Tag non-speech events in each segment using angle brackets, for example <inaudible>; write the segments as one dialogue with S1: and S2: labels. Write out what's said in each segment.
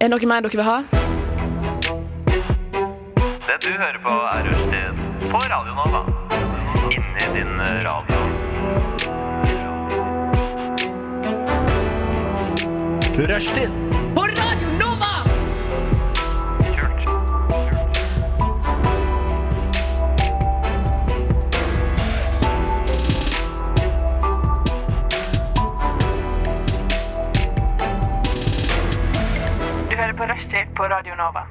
S1: Er det noe mer dere vil ha?
S2: Det du hører på er Rushtid på Radio Nova. Inni din radio.
S3: Rushtid
S2: Kult.
S4: Du hører på Rushtid på Radio Nova.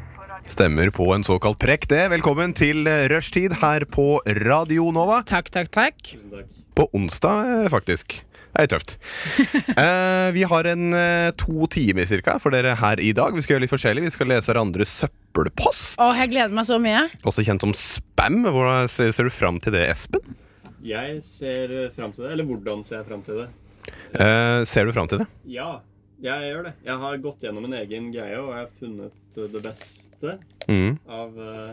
S3: stemmer på en såkalt prekk, det. Velkommen til eh, rushtid her på Radio Nova.
S5: Takk, takk, takk.
S3: På onsdag, eh, faktisk. Det er
S5: <laughs>
S3: tøft. Eh, vi har en eh, to timer cirka for dere her i dag. Vi skal gjøre litt forskjellig. Vi skal lese hverandres søppelpost.
S5: Åh, jeg gleder meg så mye.
S3: Også kjent som spam. Hvordan ser, ser du fram til det, Espen?
S6: Jeg ser fram til det. Eller hvordan ser jeg fram til det?
S3: Eh, ser du fram til det?
S6: Ja, jeg gjør det. Jeg har gått gjennom en egen greie, og jeg har funnet eh, det beste
S3: Mm.
S6: av, eh,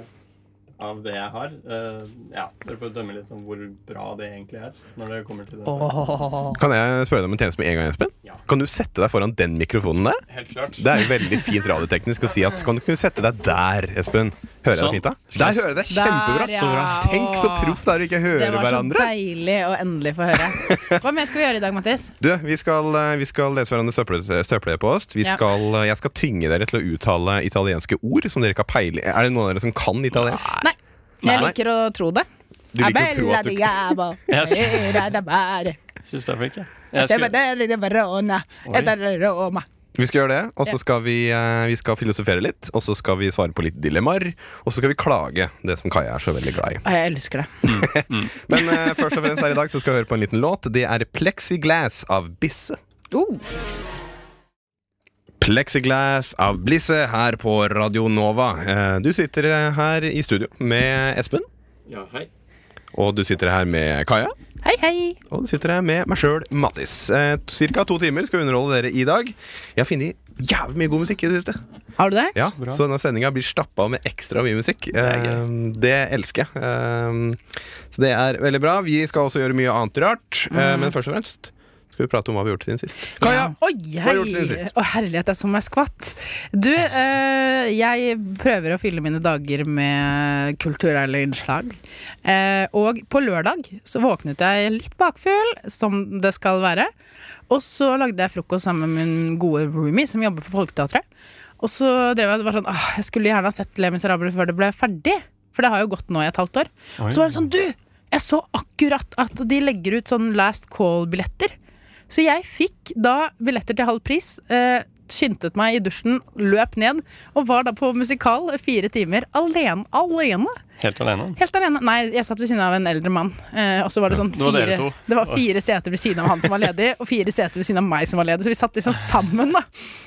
S6: av det jeg har. Eh, ja, Dere får dømme litt om hvor bra det egentlig er. når dere kommer til den saken.
S3: Kan jeg spørre deg om en tjeneste med en gang, Espen?
S6: Ja.
S3: Kan du sette deg foran den mikrofonen der?
S6: Helt klart.
S3: Det er jo veldig fint radioteknisk å si at kan du ikke sette deg der, Espen? Hører jeg
S7: Sånn.
S3: det fint da? Der hører jeg deg kjempebra.
S5: Der, ja. Så bra.
S3: Tenk så proft det er å ikke
S5: Det
S3: høre
S5: var så
S3: hverandre.
S5: deilig å endelig få høre.
S3: <laughs>
S5: Hva mer skal vi gjøre i dag, Mattis?
S3: Du, vi skal, eh, vi skal lese eh, hverandre søppel- søppelpost. Vi
S5: Ja.
S3: skal, eh, Jeg skal tvinge dere til å uttale italienske ord som dere ikke har peiling Er det noen av dere som kan italiensk?
S5: Nei. Jeg
S3: Nei.
S5: liker å tro det.
S3: Du liker å tro at du <laughs>
S7: Jeg skulle-
S5: Jeg
S7: Syns det er flink, jeg. jeg skulle...
S3: Vi skal gjøre det, og så skal vi, eh, vi skal filosofere litt. Og så skal vi svare på litt dilemmaer. Og så skal vi klage, det som Kaja er så veldig glad i.
S5: elsker det.
S3: Men eh, først og fremst her i dag så skal vi høre på en liten låt. Det er Plexiglass av Bisse.
S5: Oh,
S3: Plexiglass av Blisse her på Radio Nova. Eh, Du sitter her i studio med Espen,
S6: Ja, hei.
S3: og du sitter her med Kaja.
S5: hei, hei.
S3: Og du sitter her med meg sjøl, Mattis. Eh, Cirka to timer skal vi underholde dere i dag. Jeg har funnet jævlig mye god musikk i det siste.
S5: Har du det?
S3: Ja,
S7: bra.
S3: så denne sendinga blir stappa med ekstra mye musikk. Det,
S7: er
S3: det elsker jeg. Eh, Så det er veldig bra. Vi skal også gjøre mye annet rart, eh, men først og fremst skal vi prate om hva vi har gjort siden sist. Kaja!
S5: Mhm. Oi,
S3: har
S5: hei.
S3: du gjort siden sist?
S5: Å, herlighet, det er som jeg skvatt. Du, eh, jeg prøver å fylle mine dager med kulturelle innslag. Eh, og på lørdag så våknet jeg litt bakfull, som det skal være. Og så lagde jeg frokost sammen med min gode roomie, som jobber på Folketeatret. Og så drev jeg og var sånn Åh, jeg skulle gjerne ha sett Le Miserable før det ble ferdig. For det har jo gått nå i et halvt år. Så var det sånn, du! Jeg så akkurat at de legger ut sånn last call-billetter. Så jeg fikk da billetter til halv pris. Eh, Skyndtet meg i dusjen, løp ned og var da på musikal fire timer alene. alene.
S7: Helt alene.
S5: Helt alene. Nei, jeg satt ved siden av en eldre mann. Eh, og så var det sånn
S7: Det var dere
S5: fire,
S7: to.
S5: det var fire seter ved siden av han som var ledig, og fire seter ved siden av meg som var ledig. Så vi satt liksom sammen, da.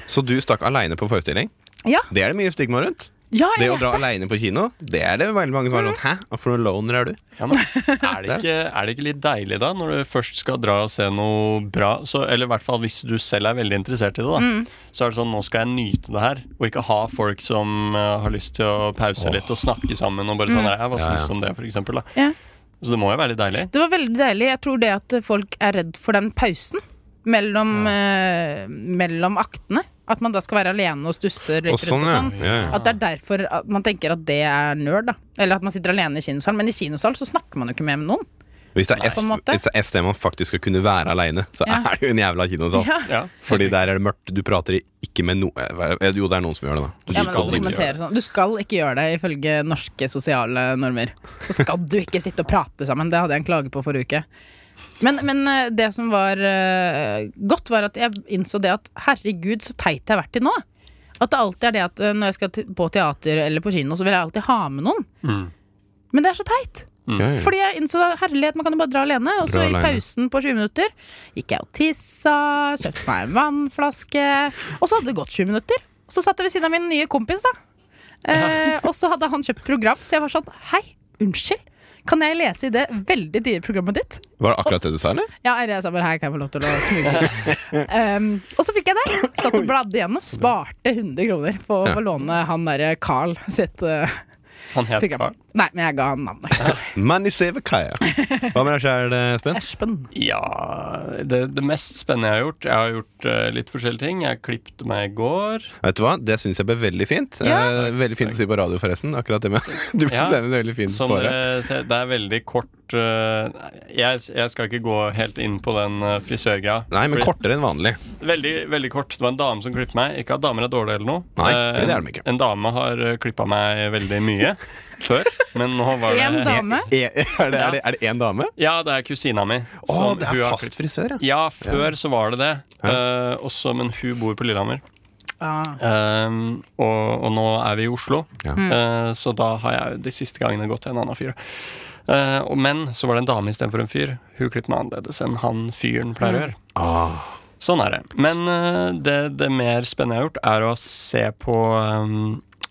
S3: Så du stakk aleine på forestilling?
S5: Ja.
S3: Det er det mye stigma rundt.
S5: Ja,
S3: Det
S5: jeg Mhm.
S3: å dra aleine på kino, det er det veldig mange som er sånn Hæ, hva for noen loner
S5: <laughs>
S3: er du?
S7: Ja,
S3: <laughs>
S7: men er, det ikke, er det ikke litt deilig da, når du først skal dra og se noe bra, så, eller i hvert fall hvis du selv er veldig interessert i det, da,
S5: Mm.
S7: så er det sånn nå skal jeg nyte det her, og ikke ha folk som eh, har lyst til å pause litt og snakke sammen og bare sånn «Nei, Hva
S3: Ja,
S7: syns
S3: ja.
S7: du om det, for eksempel? Da.
S5: Mm. Ja.
S7: Så det må jo være litt deilig.
S5: Det var veldig deilig. Jeg tror det at folk er redd for den pausen mellom, eh, mellom aktene. At man da skal være alene og stusse, røyke
S3: Og sånn,
S5: rundt og
S3: ja.
S5: sånn.
S3: Ja, ja.
S5: At det er derfor at man tenker at det er nerd. da Eller at man sitter alene i kinosalen. Men i kinosal så snakker man jo ikke med noen.
S3: Hvis det er
S5: På en måte.
S3: et- et sted man faktisk skal kunne være aleine, så
S5: Ja.
S3: er det jo en jævla kinosal.
S5: Ja.
S7: Ja.
S3: Fordi der er det mørkt. Du prater ikke med noe Jo, det er noen som gjør det, da. Du
S5: Ja, men
S3: skal
S5: å
S3: ikke gjøre
S5: kommentere sånn. Du skal ikke gjøre det ifølge norske sosiale normer. Så skal du ikke sitte og prate sammen. Det hadde jeg en klage på forrige uke. Men, men eh, det som var eh, godt, var at jeg innså det at herregud, så teit jeg har vært til nå. At det alltid er det at eh, når jeg skal til- på teater eller på kino, så vil jeg alltid ha med noen.
S7: Mm.
S5: Men det er så teit!
S3: det. Ja, ja.
S5: Fordi jeg innså at herlighet, man kan jo bare dra alene. Og så
S3: Dra
S5: i
S3: alene.
S5: pausen på 20 minutter gikk jeg og tissa, kjøpte meg en vannflaske. Og så hadde det gått 20 minutter. Og så satt jeg ved siden av min nye kompis, da. Eh, og så hadde han kjøpt program, så jeg var sånn Hei, unnskyld. Kan jeg lese i det veldig dyre programmet ditt?
S3: Var det akkurat det du sa, eller?
S5: Ja, eller jeg sa bare her kan jeg få lov til å smugle.
S3: <laughs>
S5: um, og så fikk jeg det. Satt og bladde igjennom. Sparte 100 kroner på
S3: Ja.
S5: å låne han derre Carl sitt eh,
S7: Han het
S5: Fikk jeg-
S7: Carl.
S5: Nei, men jeg ga han
S3: <laughs>
S5: navnet.
S3: Manny Sevekaya. Hva med deg eh, sjæl, Espen?
S5: Espen.
S7: Ja det, det mest spennende jeg har gjort Jeg har gjort eh, litt forskjellige ting. Jeg klippte meg i går.
S3: <laughs> Vet du hva, Det syns jeg ble veldig fint.
S5: Ja.
S3: Eh, veldig fint å si på radio, forresten. Akkurat det med <laughs> Du
S7: Ja.
S3: ser det veldig fint
S7: Som eh,
S3: på det.
S7: dere ser, det er veldig kort eh, jeg, jeg skal ikke gå helt inn på den eh, frisørgreia.
S3: Nei, men
S7: Fordi-
S3: kortere enn vanlig.
S7: Veldig, veldig kort. Det var en dame som klippet meg. Ikke at damer er dårlige eller noe.
S3: Nei,
S7: Eh,
S3: for det er de ikke.
S7: En dame har klippa meg veldig
S3: <laughs>
S7: mye før, men nå var det
S5: En dame.
S3: E, Er, er det- er det- er det én dame?
S7: Ja, det er kusina mi.
S3: Å,
S7: som
S3: det
S7: hun
S3: er
S7: har
S3: fast
S7: klippet.
S3: frisør, ja.
S7: Ja, før så var det det. Eh, også, men hun bor på Lillehammer.
S5: Ah.
S7: Ehm, og, og nå er vi i Oslo,
S3: Ja.
S5: Mm.
S7: Eh, så da har jeg de siste gangene gått til en annen fyr. Eh, og, men så var det en dame istedenfor en fyr. Hun klipper meg annerledes enn han fyren pleier
S5: Mm.
S7: å gjøre.
S3: Ah,
S7: Sånn er det. Men eh, det, det mer spennende jeg har gjort, er å se på ehm,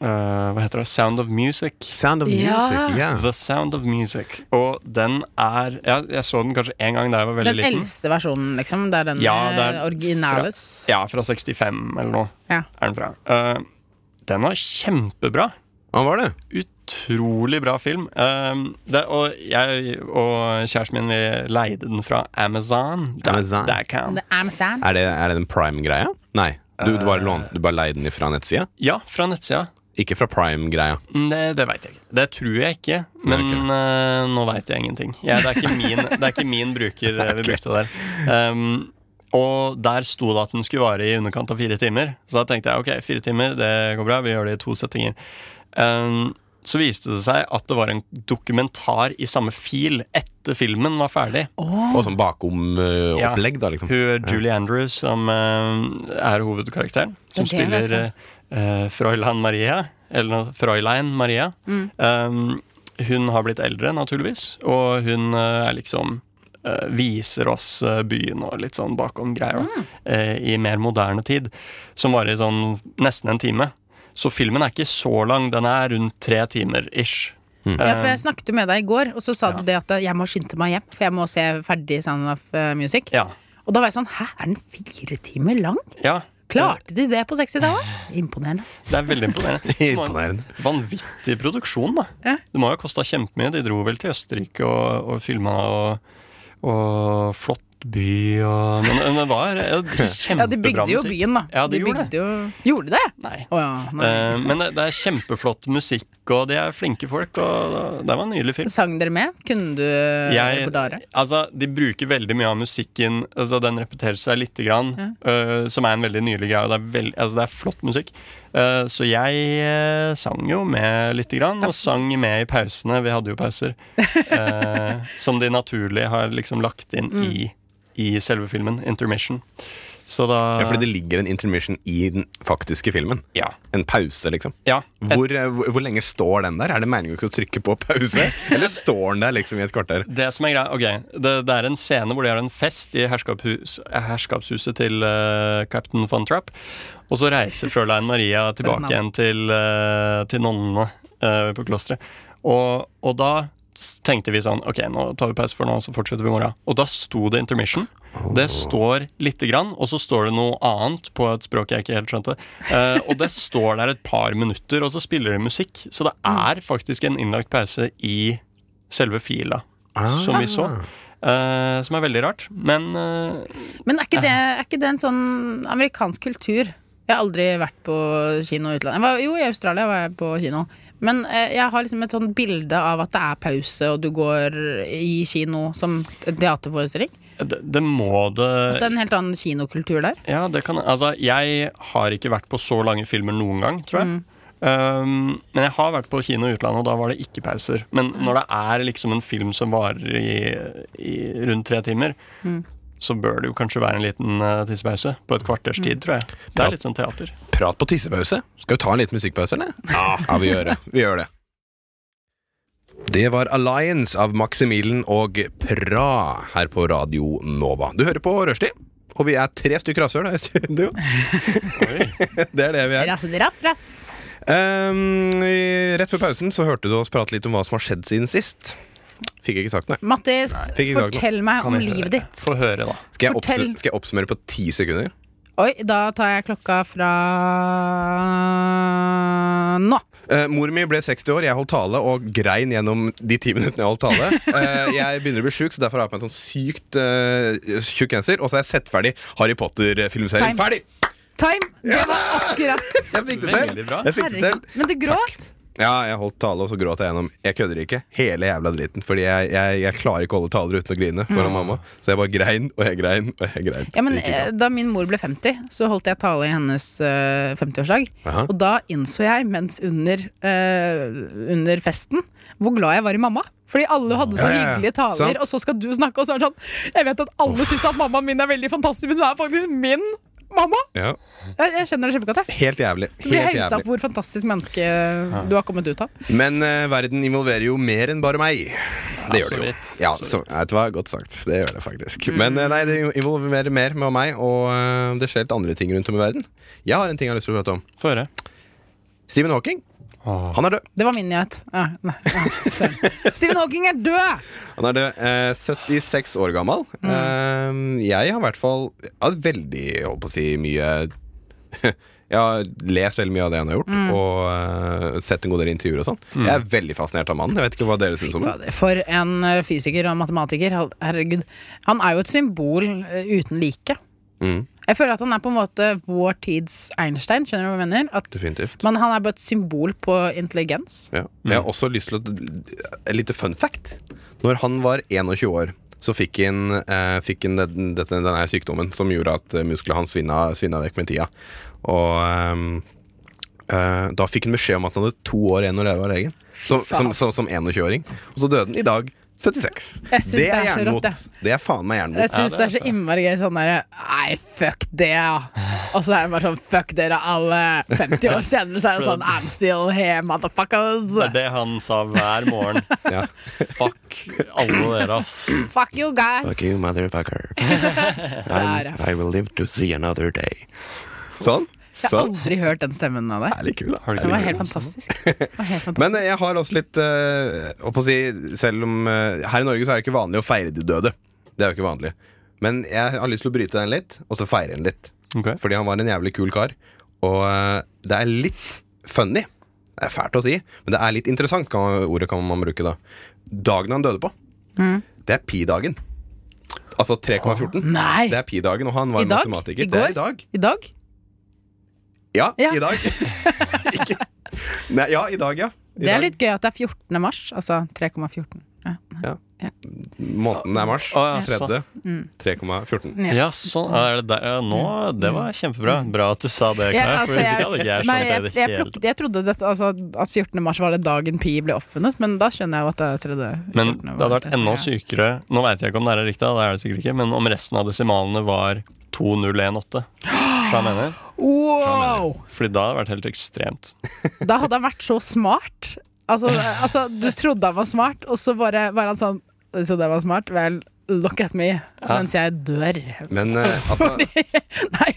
S7: eh, Hva heter det? Sound of Music.
S3: Sound of
S5: Ja.
S3: Music. Ja.
S7: The Sound of Music. Og den er Jeg, jeg så den kanskje én gang da jeg var veldig
S5: Den
S7: liten.
S5: eldste versjonen, liksom. Det er den
S7: Ja, det
S5: eh,
S7: er
S5: originales.
S7: Ja, fra 65 eller noe.
S5: Ja.
S7: Er den fra. Eh, den var kjempebra.
S3: Han var det.
S7: Utrolig bra film. Ehm, det, og jeg og kjæresten min vi leide den fra Amazon. Da-
S3: Amazon.
S7: Der kan.
S5: The Amazon.
S3: Er det, er det den Prime-greia? Nei. Du, du bare lånte Du bare leide den fra nettsida?
S7: Ja, fra nettsida.
S3: Ikke fra Prime-greia.
S7: Mm, Det, det veit jeg ikke. Det tror jeg ikke, men
S3: Ok.
S7: eh, nå veit jeg ingenting. Ja, det, er ikke min, det er ikke min bruker eh, vi brukte der. Ehm, og der sto det at den skulle vare i underkant av fire timer. Så da tenkte jeg ok, fire timer, det går bra, vi gjør det i to settinger. Ehm, så viste det seg at det var en dokumentar i samme fil etter filmen var ferdig.
S3: Og sånn bakom-opplegg, da, liksom.
S7: Hun Julie Andrews, som eh, er hovedkarakteren, som
S5: Det vet
S7: spiller
S5: jeg.
S7: eh, eh, Fräulein Maria, eller noe, Fräulein Maria. Um, hun har blitt eldre, naturligvis, og hun eh, er liksom eh, Viser oss eh, byen og litt sånn bakom greier eh, i mer moderne tid. Som varer i sånn nesten en time. Så filmen er ikke så lang. Den er rundt tre timer ish.
S5: Ja, for jeg snakket jo med deg i går, og så sa du det at jeg må skynde meg hjem, for jeg må se ferdig Sound of eh, Music.
S7: Ja.
S5: Og da var jeg sånn, hæ, er den fire timer lang?
S7: ja.
S5: Klarte de det på 60-tallet? Imponerende.
S7: Det er veldig imponerende. Det må-
S3: Imponerende.
S7: Vanvittig produksjon, da.
S5: Ja.
S7: Det må jo ha kosta kjempemye. De dro vel til Østerrike og, og filma og, og flott by og Men, men det
S5: <laughs>
S7: var ja, kjempebra musikk.
S5: Ja, de bygde jo byen, da.
S7: Ja, de, gjorde
S5: bygde
S7: det.
S5: Jo... Gjorde de det?
S7: Nei.
S5: Å ja. Nei.
S7: Eh, men det, det er kjempeflott musikk, og de er flinke folk. Og det var en nydelig film.
S5: Sang dere med? Kunne du eh,
S7: Jeg,
S5: reportasje?
S7: altså, de bruker veldig mye av musikken. Altså, den repeterer seg lite grann, øh, som er en veldig nylig greie. og Det er, veld, altså, det er flott musikk. Eh, så jeg eh, sang jo med lite grann, og sang med i pausene. Vi hadde jo pauser. eh, som de naturlig har liksom lagt inn i, i selve filmen. Intermission. Så da
S3: Ja, fordi det ligger en intermission i den faktiske filmen.
S7: Ja.
S3: En pause, liksom.
S7: ja.
S3: Hvor, eh, hvor, hvor lenge står den der? Er det meningen å trykke på pause? Eller står den der liksom i et kvarter?
S7: Det som er greia, ok det, det er en scene hvor de har en fest i herskapshus, herskapshuset til eh, Captain Von Trapp. Og så reiser Frølein Maria tilbake igjen til, eh, til nonnene eh, på klosteret. Og, og da s- tenkte vi sånn Ok, nå tar vi pause for nå, så fortsetter vi i morgen. Og da sto det intermission. Det står lite grann, og så står det noe annet på et språk jeg ikke helt skjønte. Eh, og det står der et par minutter, og så spiller de musikk. Så det er faktisk en innlagt pause i selve fila som vi
S5: Ah.
S7: så. eh, som er veldig rart. Men eh,
S5: Men er ikke, det, er ikke det en sånn amerikansk kultur? Jeg har aldri vært på kino i utlandet. Jeg var, jo, i Australia var jeg på kino. Men eh, jeg har liksom et sånn bilde av at det er pause, og du går i kino som en teaterforestilling.
S7: det, det må
S5: At det
S7: det
S5: er en helt annen kinokultur der.
S7: Ja, det kan Altså, jeg har ikke vært på så lange filmer noen gang, tror
S5: Mm.
S7: jeg. Um, men jeg har vært på kino i utlandet, og da var det ikke pauser. Men
S5: Mm.
S7: når det er liksom en film som varer i, i rundt tre timer,
S5: Mm.
S7: så bør det jo kanskje være en liten eh, tissepause på et
S5: Mm.
S7: kvarters tid, tror jeg. Det
S3: Ja.
S7: er litt sånn teater.
S3: Prat på tissepause. Skal vi ta en liten musikkpause, eller? Ja, vi gjør det. Vi gjør det. Det var Alliance av Maximilian og Pra her på Radio Nova. Du hører på Rushdie, og vi er tre stykker rasshøl her i studio. <laughs> det er det vi er.
S5: Rass, rass, rass.
S3: Ehm, i- rett før pausen så hørte du oss prate litt om hva som har skjedd siden sist. Fikk ikke sagt noe.
S5: Mattis,
S3: fikk ikke sagt noe.
S5: fortell meg
S7: Kan
S5: om
S7: jeg høre
S5: livet
S7: det?
S5: ditt.
S7: Få høre, da.
S3: Skal jeg,
S5: Fortell.
S3: oppsu- skal jeg oppsummere på ti sekunder?
S5: Oi, da tar jeg klokka fra nå.
S3: Eh, mor mi ble 60 år, jeg holdt tale og grein gjennom de ti minuttene jeg holdt tale. Eh, jeg begynner å bli sjuk, så derfor har jeg på meg en sånn sykt eh, tjukk genser. Og så har jeg sett ferdig Harry Potter-filmserien.
S5: Time.
S3: Ferdig!
S5: Time! Det
S3: Ja
S5: var akkurat!
S3: Jeg fikk det til.
S7: Veldig bra.
S3: Jeg fikk det til.
S5: Herregud. Men du gråt?
S3: Ja, jeg holdt tale, og så gråt jeg gjennom. Jeg kødder ikke. Hele jævla driten. Fordi jeg, jeg, jeg klarer ikke å holde taler uten å grine foran mamma. Så jeg bare grein og jeg grein og jeg grein.
S5: Mm. Ja, men
S3: Ikke sant?
S5: eh, Da min mor ble 50, så holdt jeg tale i hennes eh, 50-årsdag.
S3: Aha.
S5: Og da innså jeg, mens under, eh, under festen, hvor glad jeg var i mamma. Fordi alle hadde
S3: Ja,
S5: så
S3: ja, ja.
S5: hyggelige taler,
S3: Sant.
S5: og så skal du snakke, og så er det sånn Jeg vet at alle syns at mammaen min er veldig fantastisk, men hun er faktisk min mamma!
S3: ja.
S5: Jeg, jeg skjønner det kjempegodt, jeg.
S3: Helt jævlig.
S5: Du blir
S3: Helt
S5: hausa opp
S3: jævlig.
S5: hvor fantastisk menneske du har kommet ut av.
S3: Men eh, verden involverer jo mer enn bare meg. Det gjør
S7: så
S3: det jo.
S7: vidt.
S3: Ja,
S7: Så
S3: så, vet du hva, Godt sagt. Det gjør det faktisk. Men eh, nei, det involverer mer med meg, og eh, det skjer litt andre ting rundt om i verden. Jeg har en ting jeg har lyst til å prate om.
S7: Få høre.
S3: Stephen Hawking.
S7: Åh.
S3: Han er død.
S5: Det var min nyhet. Ja, nei, ja,
S3: <laughs>
S5: søren. Stephen Hawking er død!
S3: Han er død, eh, 76 år gammel. Eh, jeg har i hvert fall jeg har veldig, jeg holdt på å si, mye <laughs> Jeg har lest veldig mye av det han har gjort, og eh, sett en god del intervjuer og sånn. Jeg er veldig fascinert av mannen. Jeg vet ikke hva dere syns om ham.
S5: Fader, For en ø, fysiker og matematiker. hal- Herregud. Han er jo et symbol ø, uten like.
S3: Mm.
S5: Jeg føler at han er på en måte vår tids Einstein. Skjønner du hva jeg mener? At,
S3: Definitivt.
S5: men han er bare et symbol på intelligens.
S3: Ja. Jeg har også lyst til å Et lite fun fact. Når han var 21 år, så fikk han, eh, fikk han den, dette, denne sykdommen som gjorde at eh, musklene hans svinna, svinna vekk med tida. Og ehm, eh, da fikk han beskjed om at han hadde to år igjen å leve av legen. Som, som, som, som 21-åring. Og så døde han i dag. 76.
S5: Jeg synes det er så rått,
S3: jernmot.
S5: det.
S3: Det er faen meg
S5: Jeg
S3: jernmot.
S5: syns det er så innmari gøy sånn derre Nei, fuck det, ja. Og så er det bare sånn fuck dere alle. 50 år senere så er det sånn I'm still here,
S7: Det er
S5: motherfuckers.
S7: det han sa hver
S5: <laughs>
S7: morgen.
S3: Ja.
S7: Fuck alle dere, ass.
S5: Fuck you guys.
S1: you, motherfucker.
S5: Der, ja.
S1: I will live to see another day.
S3: Sånn.
S5: Jeg har
S3: sånn.
S5: aldri hørt den stemmen av deg.
S3: Er litt kul, da.
S7: Har du
S5: Den var
S7: ikke
S5: helt fantastisk. Den var helt fantastisk.
S3: Men eh, jeg har også litt eh, å på å si, Selv om eh, her i Norge så er det ikke vanlig å feire de døde. Det er jo ikke vanlig. Men jeg har lyst til å bryte den litt, og så feire den litt.
S7: Ok.
S3: Fordi han var en jævlig kul kar. Og eh, det er litt funny. Det er fælt å si, men det er litt interessant, kan man, ordet kan man bruke da. Dagen han døde på, det er pi-dagen. Altså 3,14.
S5: Mm. Nei!
S3: Det er pi-dagen, og han var
S5: I
S3: en
S5: dag?
S3: matematiker. Det
S5: I går?
S3: er i dag.
S5: I dag?
S3: Ja,
S5: Ja.
S3: i
S5: <laughs>
S3: dag. <laughs> Ikke. Nei, ja, i dag, ja. I
S5: Det er
S3: dag.
S5: litt gøy at det er 14. mars, altså 3,14. Ja.
S3: Måneden er mars.
S7: Å, ja, sånn.
S3: Tredje.
S5: Mm.
S3: 3,14.
S7: Ja, sånn. Ja, Er det der? Ja, nå, det var kjempebra. Bra at du sa det,
S5: Mm. Ja,
S7: Knarr,
S5: altså,
S7: for hvis
S5: jeg-
S7: ikke hadde ikke jeg
S5: Nei, jeg,
S7: skjønt det i
S5: jeg,
S7: det hele
S5: plukket, jeg trodde dette, altså, at 14. mars var det dagen pi ble oppfunnet, men da skjønner jeg jo at det er tredje.
S7: Men
S5: 14.
S7: det
S5: var
S7: hadde vært
S5: det.
S7: enda
S5: Ja.
S7: sykere Nå veit jeg ikke om det her er riktig, da, det er det sikkert ikke, men om resten av desimalene var 2018. Så jeg mener.
S5: Wow!
S7: Fordi da hadde det vært helt ekstremt.
S5: Da hadde han vært så smart. Altså, altså, du trodde han var smart, og så bare var han sånn Du trodde jeg var smart? Vel, look at me mens jeg dør.
S3: Men eh, altså,
S5: Nei,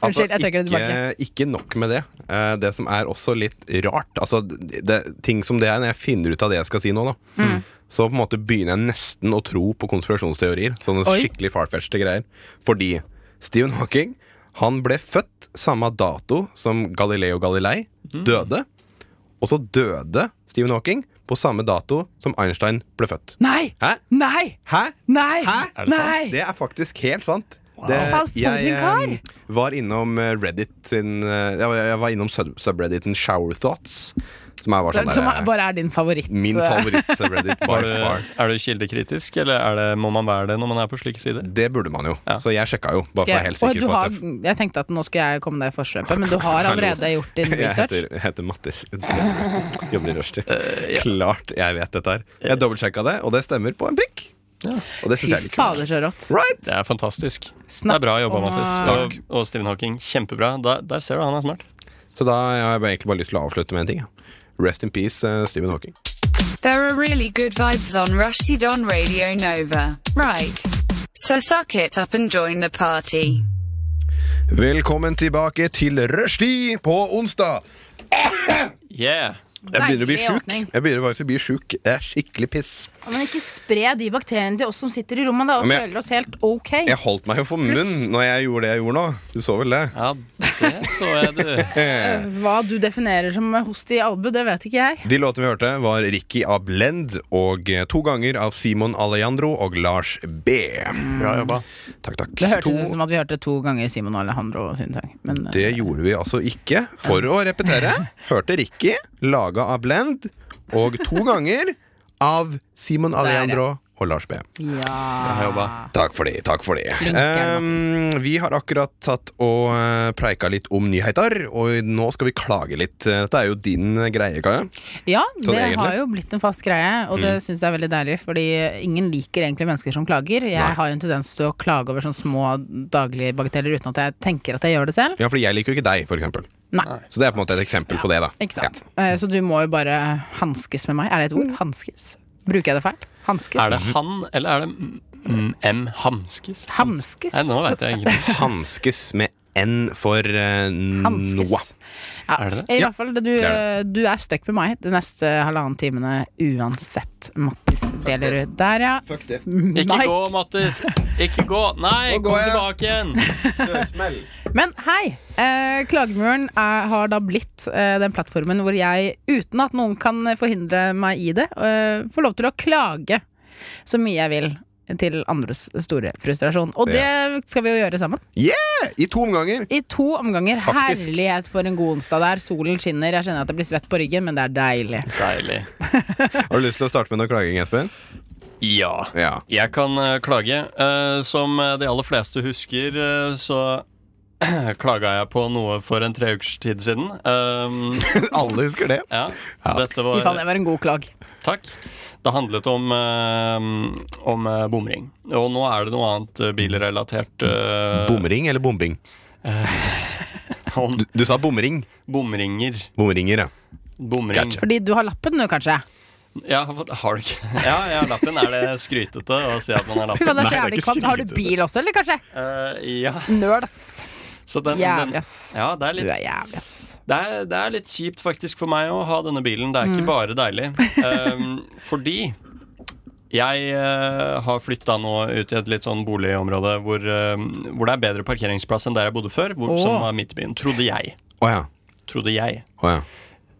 S3: altså
S5: <laughs> Unnskyld, jeg trekker det tilbake.
S3: ikke, ikke nok med det. Eh, det som er også litt rart altså, det, det- Ting som det er, når jeg finner ut av det jeg skal si nå, da,
S5: Mm.
S3: så på en måte begynner jeg nesten å tro på konspirasjonsteorier. Sånne
S5: Oi.
S3: skikkelig farfetchte greier. Fordi Stephen Hawking han ble født samme dato som Galileo Galilei
S7: Mm.
S3: døde. Og så døde Stephen Hawking på samme dato som Einstein ble født.
S5: Nei!
S3: Hæ?
S5: Nei!
S3: Hæ?
S5: Nei!
S3: Hæ?
S7: Er det sant?
S5: Nei!
S3: Det er faktisk helt sant. Det,
S5: Faen, for en kar!
S3: eh, var innom eh, Reddit sin eh, Jeg var, jeg var innom sub subredditen Shower Thoughts, som er bare sånn
S5: Den som
S3: der,
S5: er,
S3: eh,
S5: bare er din favoritt. <laughs>
S3: min favoritt-subreddit by
S7: Er
S3: far.
S7: du, er du kildekritisk, eller er det, må man være det når man er på slike sider?
S3: Det burde man jo,
S7: Ja.
S3: så jeg sjekka jo. Bare for å være helt
S5: Åh,
S3: sikker
S5: du
S3: på
S5: har,
S3: at jeg,
S5: jeg tenkte at nå skulle jeg komme deg i forkjøpet,
S3: <laughs>
S5: men du har allerede gjort din
S3: jeg
S5: research.
S3: heter, heter Mattis.
S5: <laughs>
S3: Jobber i rushtid.
S7: Eh,
S3: Klart jeg vet dette her. Jeg dobbeltsjekka det, og det stemmer på en prikk.
S7: Ja.
S3: Og det
S5: Fy
S3: syns jeg er litt kult.
S5: fader, så rått.
S3: Right?
S7: Det er fantastisk. Det
S5: Snakk
S7: er bra jobba,
S5: om å-
S7: Mattis. Og, og Stephen Hawking. Kjempebra. Der, der ser du, han er smart.
S3: Så da har jeg bare- egentlig bare lyst til å avslutte med en ting. ja. Rest in peace, eh, Stephen Hawking.
S8: There are really good vibes on Rushdie on Radio Nova. Right. So suck it up and join the party.
S3: Velkommen tilbake til Rushdie på onsdag.
S7: Yeah!
S3: Jeg begynner å bli
S5: Merkelig
S3: sjuk.
S5: åpning.
S3: Jeg begynner faktisk å bli sjuk. Det er skikkelig piss.
S5: Men ikke spre de bakteriene til oss som sitter i rommet da, og
S3: Men jeg-
S5: føler oss helt ok.
S3: Jeg holdt meg jo for munn når jeg gjorde det jeg gjorde nå. Du så vel det?
S7: Ja, det så <laughs> jeg, du.
S3: Eh.
S5: Hva du definerer som host i albu, det vet ikke jeg.
S3: De låtene vi hørte, var Ricky av Blend og eh, to ganger av Simon Alejandro og Lars B.
S7: Bra jobba.
S3: Takk, takk.
S5: Det hørtes
S3: To-
S5: ut som at vi hørte to ganger Simon Alejandro sin sang. Men, eh,
S3: Det gjorde vi altså ikke. For å repetere, hørte Ricky, laga av Blend, og to ganger av Simon Alejandro og Lars B.
S5: ja.
S7: Bra jobba.
S3: Takk for det. takk for det
S5: Flink er du,
S3: Ehm, Vi har akkurat tatt og eh, preika litt om nyheter, og nå skal vi klage litt. Eh, Dette er jo din greie, Kaja.
S5: ja,
S7: Sånn
S5: det
S3: egentlig.
S5: har jo blitt en fast greie, og det
S7: Mm.
S5: syns jeg er veldig deilig. Fordi ingen liker egentlig mennesker som klager. Jeg har jo en tendens til å klage over sånne små daglige bagateller uten at jeg tenker at jeg gjør det selv.
S3: Ja, for jeg liker jo ikke deg, for eksempel.
S5: Nei,
S3: Så det er på en måte et eksempel på det, da.
S5: ikke sant. Eh, Så du må jo bare hanskes med meg. Er det et ord? Hanskes? Bruker jeg det feil? Hanskes?
S7: Mm. Er det han, eller er det m- m- M. Hamskes?
S5: Hamskes?
S7: Nei, nå veit jeg
S3: <laughs>
S7: ingenting.
S3: Ja. Hanskes med N for eh,
S5: Hanskes.
S3: Noah.
S5: Ja.
S7: Er det
S5: I
S3: Ja,
S5: hvert fall, du,
S3: er
S5: du er stuck med meg de neste halvannen timene uansett, Mattis Delerud. Der, ja.
S3: Fuck det.
S7: Ikke
S5: Mike.
S7: gå, Mattis! Ikke gå! Nei,
S3: Nå går
S7: kom
S3: jeg.
S7: tilbake igjen!
S5: Men hei! Eh, Klagemuren er, har da blitt eh, den plattformen hvor jeg, uten at noen kan forhindre meg i det, eh, får lov til å klage så mye jeg vil. Til andres store frustrasjon. Og det skal vi jo gjøre sammen.
S3: Yeah! I to omganger.
S5: I to omganger.
S3: Faktisk.
S5: Herlighet for en god onsdag der. Solen skinner. Jeg kjenner at jeg blir svett på ryggen, men det er deilig.
S7: Deilig.
S3: Har du lyst til å starte med noe klaging, Espen?
S7: Ja.
S3: Ja.
S7: Jeg kan eh, klage. Eh, som eh, de aller fleste husker, eh, så <clears throat> klaga jeg på noe for en tre ukers tid siden. Um,
S3: <laughs> Alle husker det. <laughs>
S7: ja. Dette
S5: I fall
S7: var
S5: det var en god klag.
S7: Takk. Det handlet om, eh, om eh, bomring. Og nå er det noe annet eh, bilrelatert. eh,
S3: Bomring eller bombing?
S7: om
S3: Du, du sa bomring.
S7: bomringer.
S3: Bomringer, ja.
S7: Bomring.
S5: Fordi du har lappen nå, kanskje?
S7: Ja, har du ikke <laughs> Ja, jeg har lappen. Er det skrytete å si at man har
S5: Fy faen, <laughs>
S3: Nei,
S5: det er så
S7: lappen?
S3: det er
S5: jævlig
S3: ikke
S5: kvalmt. Har du
S3: skrytete.
S5: bil også, eller kanskje?
S7: Eh, ja.
S5: Nøl, ass.
S7: Så den,
S5: Jævlig,
S7: den
S5: ass.
S7: Ja, det er
S5: Du
S7: litt
S5: er jævlig, ass.
S7: det er, det er litt kjipt faktisk for meg å ha denne bilen. Det er ikke bare deilig. Ehm, fordi jeg eh, har flytta nå ut i et litt sånn boligområde hvor, eh, hvor det er bedre parkeringsplass enn der jeg bodde før, hvor,
S5: Åh.
S7: som var midt i byen. Trodde jeg.
S3: Å ja.
S7: Trodde jeg.
S3: Å ja.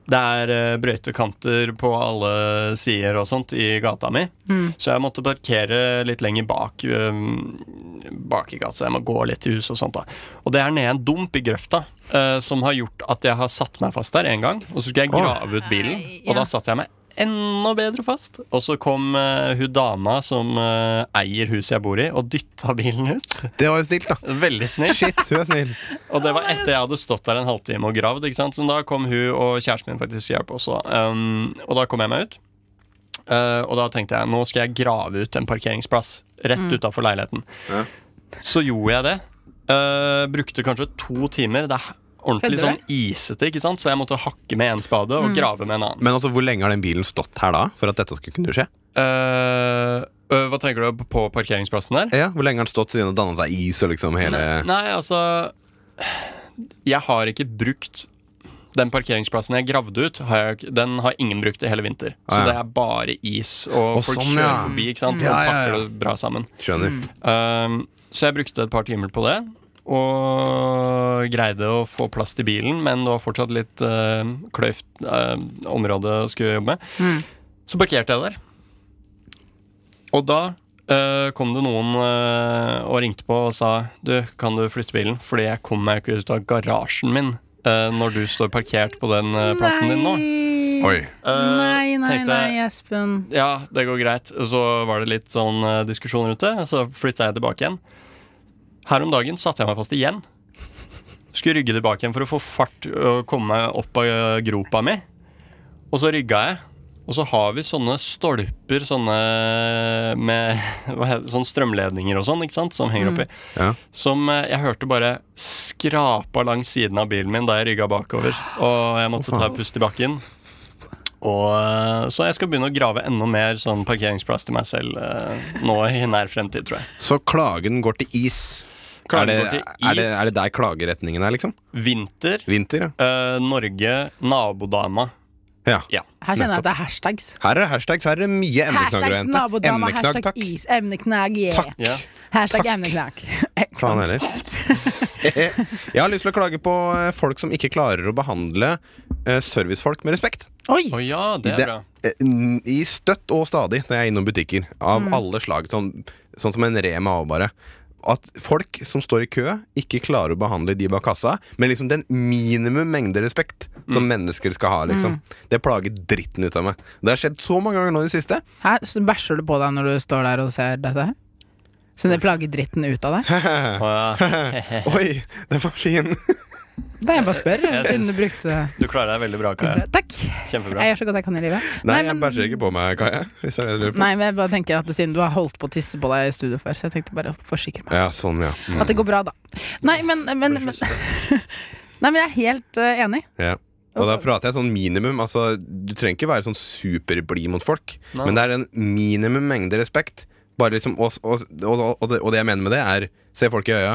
S7: Det er eh, brøytekanter på alle sider og sånt i gata mi.
S5: Mm.
S7: Så jeg måtte parkere litt lenger bak, eh, bak i gata, så jeg må gå litt i huset og sånt. da Og det er nede en dump i grøfta eh, som har gjort at jeg har satt meg fast der en gang. Og så skulle jeg grave ut bilen,
S5: Nei, ja.
S7: og da satt jeg meg enda bedre fast. Og så kom eh, hun dama som eh, eier huset jeg bor i, og dytta bilen ut. <laughs>
S3: Det var jo snilt, da.
S7: Veldig snill.
S3: Shit, hun er snill.
S7: Og det var etter jeg hadde stått der en halvtime og gravd. ikke sant? Så da kom hun og kjæresten min faktisk hjalp også. da. Um, og da kom jeg meg ut. Uh, og da tenkte jeg nå skal jeg grave ut en parkeringsplass rett utafor leiligheten.
S3: Ja.
S7: Så gjorde jeg det. Uh, brukte kanskje to timer. Det er ordentlig
S5: Skjønte
S7: sånn isete, ikke sant? så jeg måtte hakke med en spade og grave med en annen.
S3: Men altså, hvor lenge har den bilen stått her da, for at dette skulle kunne skje?
S7: Uh, uh, hva tenker du på parkeringsplassen der?
S3: Ja, Hvor lenge har den stått siden den danna seg is og liksom hele
S7: Nei, altså Jeg har ikke brukt den parkeringsplassen jeg gravde ut, har jeg, ikke- den har ingen brukt i hele vinter.
S3: Ah,
S7: Så
S3: ja.
S7: det er bare is, og
S3: Å,
S7: folk
S3: sånn,
S7: kjører
S3: ja.
S7: forbi ikke sant?
S3: Ja,
S7: og
S3: ja, ja.
S7: pakker det bra sammen.
S3: Skjønner.
S5: Mm.
S7: Um, så jeg brukte et par timer på det, og greide å få plass til bilen, men det var fortsatt litt uh, kløyvt uh, område å skulle jobbe med.
S5: Mm.
S7: Så parkerte jeg der. Og da eh, kom det noen eh, og ringte på og sa Du, kan du flytte bilen? Fordi jeg kom meg ikke ut av garasjen min eh, når du står parkert på den eh, plassen din nå.
S3: Oi.
S7: Eh,
S5: Nei, nei,
S7: tenkte jeg,
S5: nei, Espen.
S7: Ja, det går greit. Så var det litt sånn eh, diskusjon rundt det. Så flytta jeg tilbake igjen. Her om dagen satte jeg meg fast igjen. Skulle rygge tilbake igjen for å få fart og komme meg opp av eh, gropa mi. Og så rygga jeg. Og så har vi sånne stolper sånne med <laughs> hva heter, det, sånne strømledninger og sånn, ikke sant, som henger oppi.
S3: Ja.
S7: Som eh, jeg hørte bare skrapa langs siden av bilen min da jeg rygga bakover. Og jeg måtte ta et pust i bakken. Og, eh, så jeg skal begynne å grave enda mer sånn parkeringsplass til meg selv eh, nå i nær fremtid, tror jeg.
S3: Så klagen går til is.
S7: Klagen
S3: er, det,
S7: går til
S3: Er, det,
S7: is.
S3: er det der klageretningen er, liksom?
S7: Vinter,
S3: Vinter, ja.
S7: eh, Norge, nabodama.
S3: Ja.
S7: Ja.
S5: Her kjenner jeg at det er hashtags.
S3: Her er det hashtags, her er det mye emneknagger å
S5: Hashtags
S3: hente.
S5: nabodama,
S3: Emneknagg,
S5: hashtag
S3: takk.
S5: is, emneknagg, yeah.
S3: Takk.
S7: Ja.
S5: Hashtag emneknagg. <laughs> Ikke
S3: Faen
S5: sant?
S3: heller. <laughs> Jeg har lyst til å klage på eh, folk som ikke klarer å behandle eh, servicefolk med respekt.
S5: Oi!
S7: Å ja, det er bra.
S3: eh, n- I støtt og stadig når jeg er innom butikker av alle slag, sånn, sånn som en Rema og bare. At folk som står i kø, ikke klarer å behandle de bak kassa med liksom den minimum mengde respekt som
S7: Mm.
S3: mennesker skal ha. liksom Det plager dritten ut av meg. Det har skjedd så mange ganger nå i det
S7: <laughs>
S3: siste.
S5: Hæ, så bæsjer du på deg når du står der og ser dette her? Så det plager dritten ut av deg?
S7: Å, ja.
S3: Oi, den var fin!
S5: Det er jeg
S3: <laughs>
S5: bare spør,
S7: Jeg
S5: siden
S7: syns-
S5: du brukte
S7: Du klarer deg veldig bra, Kaja.
S5: Takk!
S7: Kjempebra.
S5: Jeg gjør så godt jeg kan i livet.
S3: Nei, jeg
S5: men-
S3: bæsjer ikke på meg, Kaja. Hvis det er det du lurer på.
S5: Nei, men jeg bare tenker at siden du har holdt på å tisse på deg i studio før, så jeg tenkte bare å forsikre meg.
S3: Ja, sånn, ja. Mm.
S5: At det går bra, da. Nei, men, men, men, <laughs> nei, men jeg er helt eh, enig.
S3: Ja. Og da prater jeg sånn minimum. Altså, du trenger ikke være sånn superblid mot folk,
S7: Nei.
S3: men det er en minimum mengde respekt. Bare liksom, og, og, og, og, det, og det jeg mener med det, er se folk i øya,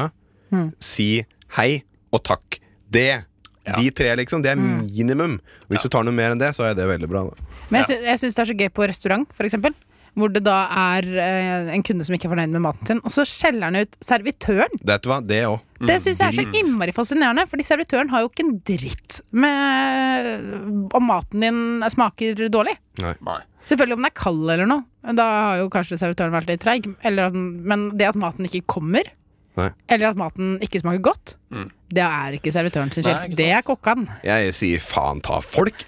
S3: si hei og takk. Det! De tre, liksom. Det er minimum. Og hvis du tar noe mer enn det, så er det veldig bra. Da.
S5: Men jeg, sy jeg syns det er så gøy på restaurant, for eksempel. Hvor det da er eh, en kunde som ikke er fornøyd med maten sin, og så skjeller han ut servitøren.
S3: Vet du hva? Det òg.
S5: Det syns jeg er så innmari fascinerende, fordi servitøren har jo ikke en dritt med om maten din smaker dårlig.
S7: Nei.
S5: Selvfølgelig om den er kald eller noe. Da har jo kanskje servitøren vært litt treig. eller at den- Men det at maten ikke kommer,
S3: Nei.
S5: eller at maten ikke smaker godt,
S7: Mm.
S5: det er ikke servitøren sin
S7: Nei,
S5: skyld.
S7: ikke
S5: Det er
S7: sant.
S5: kokkan.
S3: Jeg sier faen ta folk.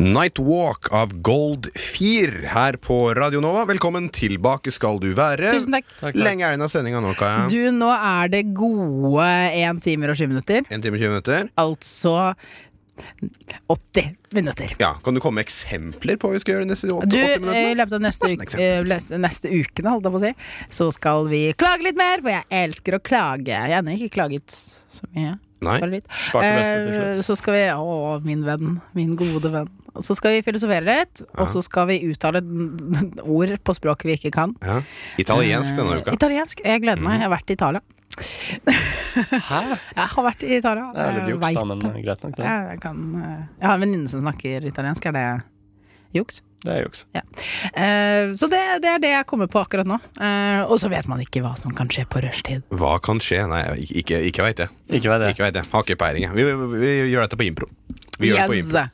S3: Nightwalk av Gold 4 her på Radio Nova. Velkommen tilbake skal du være.
S5: Tusen takk.
S7: Takk, takk.
S3: Lenge er det av sendinga nå, Kaja?
S5: Du, nå er det gode 1 timer og 20 minutter.
S3: En time og 20 minutter.
S5: Altså 80 minutter.
S3: Ja, Kan du komme med eksempler på hva vi skal gjøre de neste åtte-
S5: Du,
S3: 80
S5: eh, i
S3: minuttene?
S5: løpet av neste,
S3: Hva slags
S5: uke, eh,
S7: liksom?
S5: les- neste ukene, holdt jeg på å si, så skal vi klage litt mer, for jeg elsker å klage. Jeg har ennå ikke klaget så mye.
S3: Nei.
S5: Bare litt.
S7: Sparte beste til
S5: Eh,
S7: slutt.
S5: Så skal vi, å min venn, min gode venn Og Så skal vi filosofere litt Og så skal vi uttale n- n- ord på språk vi ikke kan
S3: Ja. Italiensk denne
S5: Eh,
S3: uka.
S5: Italiensk, jeg gleder meg, jeg har vært i Italia
S7: Hæ?
S5: Jeg har vært i Italia
S7: Det er litt
S5: jeg
S7: juks, da,
S5: vet
S7: men eh,
S5: det.
S7: greit nok, det.
S5: jeg, jeg kan, eh, jeg har en venninne som snakker italiensk Er det juks?
S7: Det er juks.
S5: Eh, Så det, det er det jeg kommer på akkurat nå Eh, Og så vet man ikke hva som kan skje på rushtid
S3: Hva kan skje? Nei, ik- ikke, ikke veit jeg.
S7: Ikke vei det.
S3: Ikke vet jeg. Har ikke peiling. jeg. Vi, vi, vi gjør dette på impro. Vi, gjør det på impro.
S5: Yes.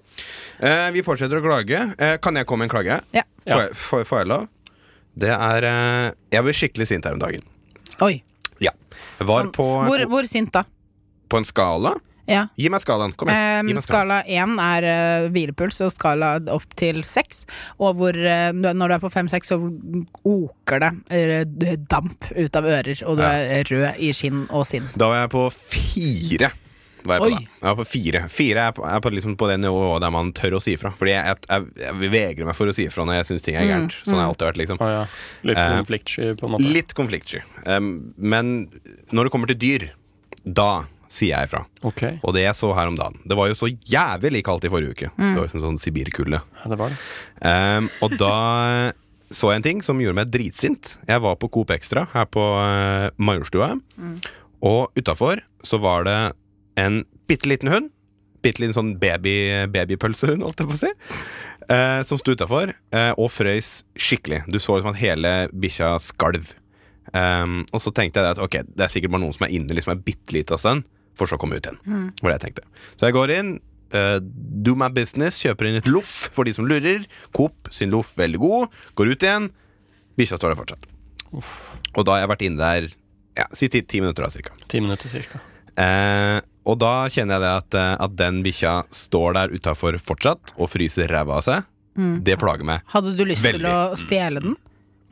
S3: Eh, vi fortsetter å klage. Eh, kan jeg komme med en klage?
S5: Ja.
S3: Får jeg- Får får jeg lov? Det er eh, Jeg ble skikkelig sint her om dagen.
S5: Oi,
S3: Ja. Var på,
S5: hvor, hvor sint da?
S3: på en skala.
S5: Ja
S3: Gi meg skalaen. Kom igjen. Gi
S5: Um,
S3: meg skalaen.
S5: skala 1 er eh, hvilepuls, og skala opp til 6. Og hvor, eh, du- når du er på 5-6, så oker det eh, d- damp ut av ører, og du er rød i skinn og sinn.
S3: Da var jeg på fire. Var jeg, på
S5: Oi.
S3: da. jeg var på fire. Fire er på, er på, liksom på det nivået der man tør å si ifra. Fordi jeg, jeg, jeg vegrer meg for å si ifra når jeg syns ting er gærent. Sånn har jeg alltid vært, liksom.
S7: Å ja. Litt
S3: Eh,
S7: konfliktsky, på en måte.
S3: Litt konfliktsky. Um, men når det kommer til dyr, da sier jeg ifra.
S7: Ok,
S3: Og det jeg så her om dagen Det var jo så jævlig kaldt i forrige uke. Det var jo sånn, sånn sibirkulde.
S7: ja, det var det.
S3: Um, og da så jeg en ting som gjorde meg dritsint. Jeg var på Coop Extra her på eh, Majorstua. Og utafor så var det en bitte liten hund. Bitte liten sånn baby, babypølsehund, holdt jeg på å si. eh, som sto utafor eh, og frøys skikkelig. Du så liksom at hele bikkja skalv. Um, og så tenkte jeg det at ok, det er sikkert bare noen som er inne liksom en bitte liten stund, for så å komme ut igjen. Var det jeg tenkte. Så jeg går inn, eh, do my business, kjøper inn et loff for de som lurer. Coop sin loff, veldig god. Går ut igjen. Bikkja står der fortsatt. Og da har jeg vært inne der ja, si ti, ti minutter, da, cirka.
S7: Ti minutter cirka.
S3: Eh, og da kjenner jeg det at, eh, at den bikkja står der utafor fortsatt og fryser ræva av seg.
S5: Mm.
S3: Det plager meg.
S5: Hadde du lyst til å
S3: Veldig. Mm.
S5: stjele den?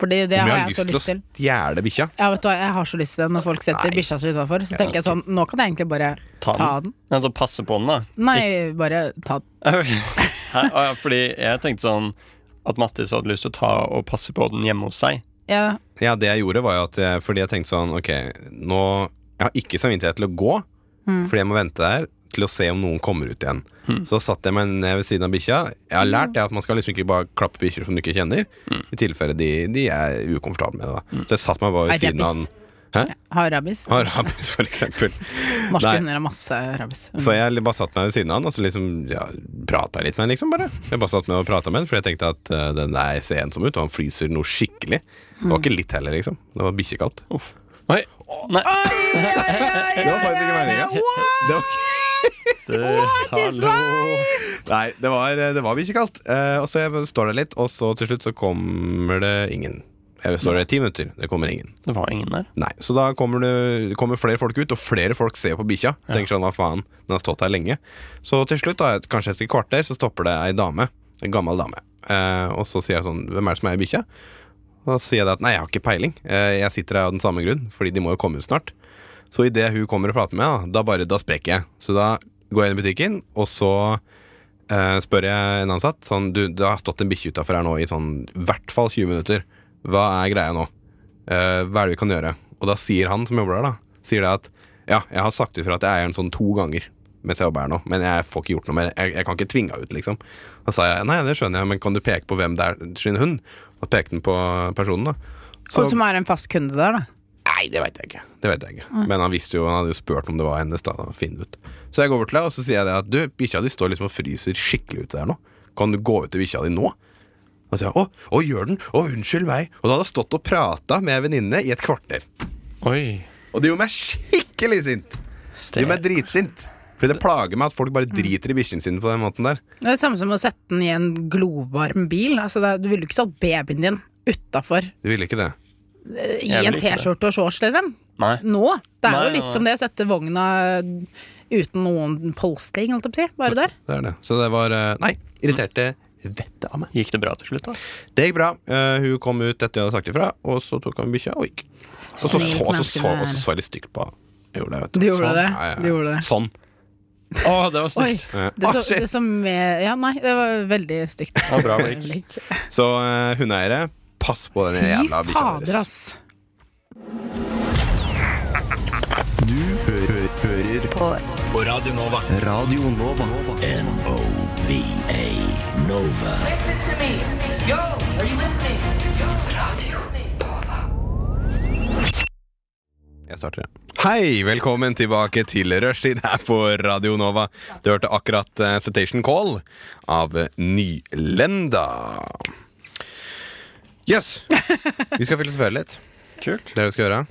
S5: Fordi det
S3: Om
S5: har
S3: jeg har
S5: jeg så
S3: lyst til å
S5: lyst til.
S3: stjele bikkja?
S5: Ja, vet du hva, jeg har så lyst til det når folk setter
S3: Nei.
S5: bikkja si utafor. Så tenker jeg sånn, nå kan jeg egentlig bare
S7: Ta
S5: ta
S7: den.
S5: den.
S7: Men så Altså, passe på den, da.
S5: Nei, bare ta den.
S7: <laughs> Hæ? Å ja, fordi jeg tenkte sånn at Mattis hadde lyst til å ta og passe på den hjemme hos seg.
S5: Ja,
S3: Ja, det jeg gjorde var jo at jeg, Fordi jeg tenkte sånn, ok Nå, jeg har ikke samvittighet til å gå
S5: Mm.
S3: Fordi jeg må vente der til å se om noen kommer ut igjen Så satt jeg meg ned ved siden av bikkja Jeg har lært det at man skal liksom ikke bare klappe bikkjer som du ikke kjenner I tilfelle de, de er ukomfortable med det da Så jeg satt meg bare
S5: Nei,
S3: ved
S5: det er
S3: siden av den <laughs> Hæ?
S5: Har rabies.
S3: Har rabies, for eksempel.
S5: <laughs> Norske
S3: Nei.
S5: hunder har masse rabies.
S3: Så jeg bare satt meg ved siden av han og så liksom, ja, prata litt med han, liksom. bare Jeg bare satt med og prata med han, for jeg tenkte at eh, den der ser ensom ut, og han fryser noe skikkelig. Det
S5: Mm.
S3: var ikke litt heller, liksom. Det var bikkjekaldt.
S7: Uff. ah, Oi. Nei,
S3: Det var faktisk ikke meninga. Det var
S7: det, hallo.
S3: Nei, det var, det var ikke kaldt. Eh, og så jeg står der litt, og så til slutt så kommer det ingen. Jeg står der i ti minutter, det kommer ingen.
S7: det var ingen der.
S3: Nei, Så da kommer, det, kommer flere folk ut, og flere folk ser på bikkja. Tenker sånn, hva faen, den har stått her lenge. Så til slutt, da, et- kanskje etter et kvarter, så stopper det ei dame. En gammel dame. Eh, og så sier jeg sånn, hvem er det som er i bikkja? Og da sier jeg det at nei, jeg har ikke peiling. Eh, jeg sitter her av den samme grunn, fordi de må jo komme ut snart. Så idet hun kommer og prater med meg, da, da bare da sprekker jeg. Så da går jeg inn i butikken, og så Eh, spør jeg en ansatt sånn, du, Det har stått en bikkje utafor her nå i sånn i hvert fall 20 minutter. Hva er greia nå? Eh, hva er det vi kan gjøre? Og da sier han som jobber der, da Sier det at ja, jeg har sagt ifra at jeg eier den sånn to ganger mens jeg jobber her nå, men jeg får ikke gjort noe mer. Jeg, jeg kan ikke tvinge henne ut, liksom. Da sa jeg nei, det skjønner jeg, men kan du peke på hvem det er sin hund? Da pekte han på personen, da. Så,
S5: Og Sånn som har en fast kunde der, da.
S3: Nei, det veit jeg ikke. Det vet jeg ikke. Men han visste jo, han hadde jo spurt om det var hennes. da, da finne det ut. Så jeg går bort til deg og så sier jeg det at du, bikkja di står liksom og fryser skikkelig ute der nå. Kan du gå ut til bikkja di nå? Og så sier jeg å, å, gjør den? Å, unnskyld meg. Og da hadde jeg stått og prata med ei venninne i et kvarter.
S7: Oi.
S3: Og det gjorde meg skikkelig sint. Det gjorde meg dritsint. Fordi det plager meg at folk bare driter i bikkjene sine på den måten der.
S5: Det er det samme som å sette den i en glovarm bil. Altså, det, er- du ville jo ikke satt babyen din utafor eh,
S3: Du ville ikke det.
S5: i
S7: Jeg vil
S5: en
S7: ikke det.
S5: T-skjorte og shorts, liksom.
S7: Nei.
S5: Nå. Det er
S7: Nei,
S5: jo litt
S7: nei.
S5: som det å sette vogna uten noen polstring, holdt jeg på å si. Bare der.
S3: Det er det. Så det var eh, Nei, irriterte vettet av meg.
S7: Gikk det bra til slutt, da?
S3: Det gikk bra. Eh, hun kom ut etter jeg hadde sagt ifra, og så tok han bikkja og gikk. Og så så,
S5: Snilt
S3: og så,
S5: menneske
S3: så,
S5: du er.
S3: og så, så jeg litt stygt på henne. Jeg Gjorde det, vet
S5: Du gjorde
S3: sånn.
S5: det.
S3: Ja, ja, ja.
S5: Du gjorde det.
S3: Sånn.
S7: Å, det var
S5: Oi.
S7: stygt.
S3: Eh,
S5: Det
S3: ah,
S5: så,
S3: shit.
S5: det som med, ja, nei, det var veldig stygt.
S7: Det var bra blikk.
S5: Blikk.
S3: Så eh, hundeeiere, pass på den
S5: Fy
S3: jævla bikkja
S5: fader,
S3: deres.
S5: ass.
S9: Du hø hø hører på. Radio Nova.
S1: N-O-V-A Nova.
S4: Listen to me. Yo, are you listening?
S3: Jeg starter, ja. Hei, velkommen tilbake til Rushtid her på Radio Nova. Du hørte akkurat eh, Citation Call av eh, Nylenda. Yes! Vi skal filosofere litt.
S7: Kult.
S3: Det er det vi skal gjøre.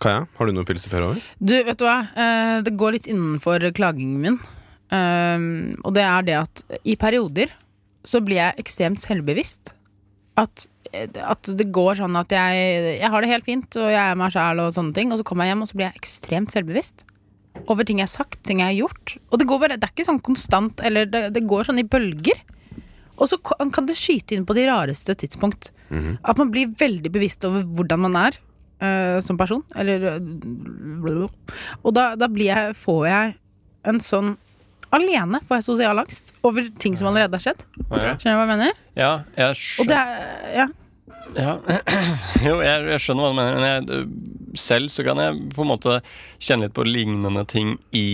S3: Kaja, har du noe å filosofere over?
S5: Du, vet du hva? Eh, Det går litt innenfor klagingen min. Um, og det er det at i perioder så blir jeg ekstremt selvbevisst. At, eh, at det går sånn at jeg, jeg har det helt fint, og jeg er meg sjæl og sånne ting. Og så kommer jeg hjem, og så blir jeg ekstremt selvbevisst. Over ting jeg har sagt, ting jeg har gjort. Og det, går bare, det er ikke sånn konstant, eller det, det går sånn i bølger. Og så kan kan det skyte inn på de rareste tidspunkt. At man blir veldig bevisst over hvordan man er eh, som person. Eller eh, Og da, da blir jeg, får jeg en sånn Alene får jeg sosial angst over ting som allerede har skjedd.
S7: Ja.
S5: Skjønner du hva jeg mener?
S7: Ja, jeg
S5: Og det
S7: skjønner,
S5: er, ja.
S7: ja. <clears throat> jo, jeg, jeg skjønner hva du mener. Men jeg, øh, selv så kan jeg på en måte kjenne litt på lignende ting i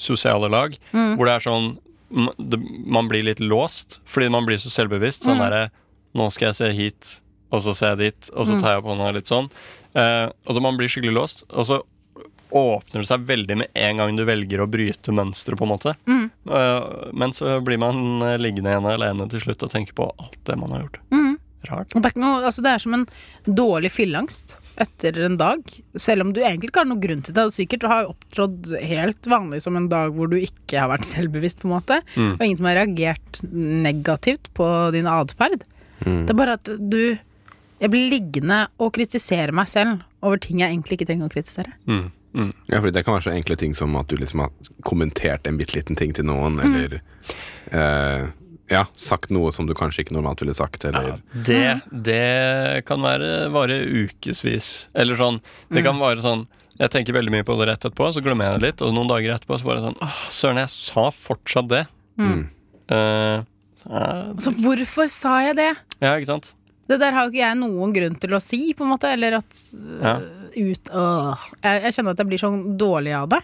S7: sosiale lag. Hvor det er sånn m- det, Man blir litt låst fordi man blir så selvbevisst. Sånn derre Nå skal jeg se hit, og så ser jeg dit, og så tar jeg på hånda litt sånn. Eh, og da man blir skikkelig låst, og så åpner det seg veldig med en gang du velger å bryte mønsteret, på en måte. Eh, men så blir man eh, liggende igjen alene til slutt og tenke på alt det man har gjort. Rart.
S5: Mm. Og Det er, ikke noe, altså det er som en dårlig fylleangst etter en dag. Selv om du egentlig ikke har noen grunn til det. Du sikkert har opptrådt helt vanlig som en dag hvor du ikke har vært selvbevisst, på en måte. Og ingen som har reagert negativt på din atferd. Det er bare at du Jeg blir liggende og kritisere meg selv over ting jeg egentlig ikke trenger å kritisere.
S7: Mm. Mm.
S3: Ja, fordi Det kan være så enkle ting som at du liksom har kommentert en bitte liten ting til noen, eller eh, ja, sagt noe som du kanskje ikke normalt ville sagt, eller
S7: Det, det kan være vare ukevis. Eller sånn Det kan være sånn Jeg tenker veldig mye på det rett etterpå, så glemmer jeg det litt. Og noen dager etterpå så bare sånn Åh, søren, jeg sa fortsatt det. Eh, så, eh,
S5: Altså, hvorfor sa jeg det?
S7: ja, ikke sant?
S5: Det der har jo ikke jeg noen grunn til å si, på en måte. Eller at
S7: Ja.
S5: ut øh. jeg, jeg kjenner at jeg blir sånn dårlig av det.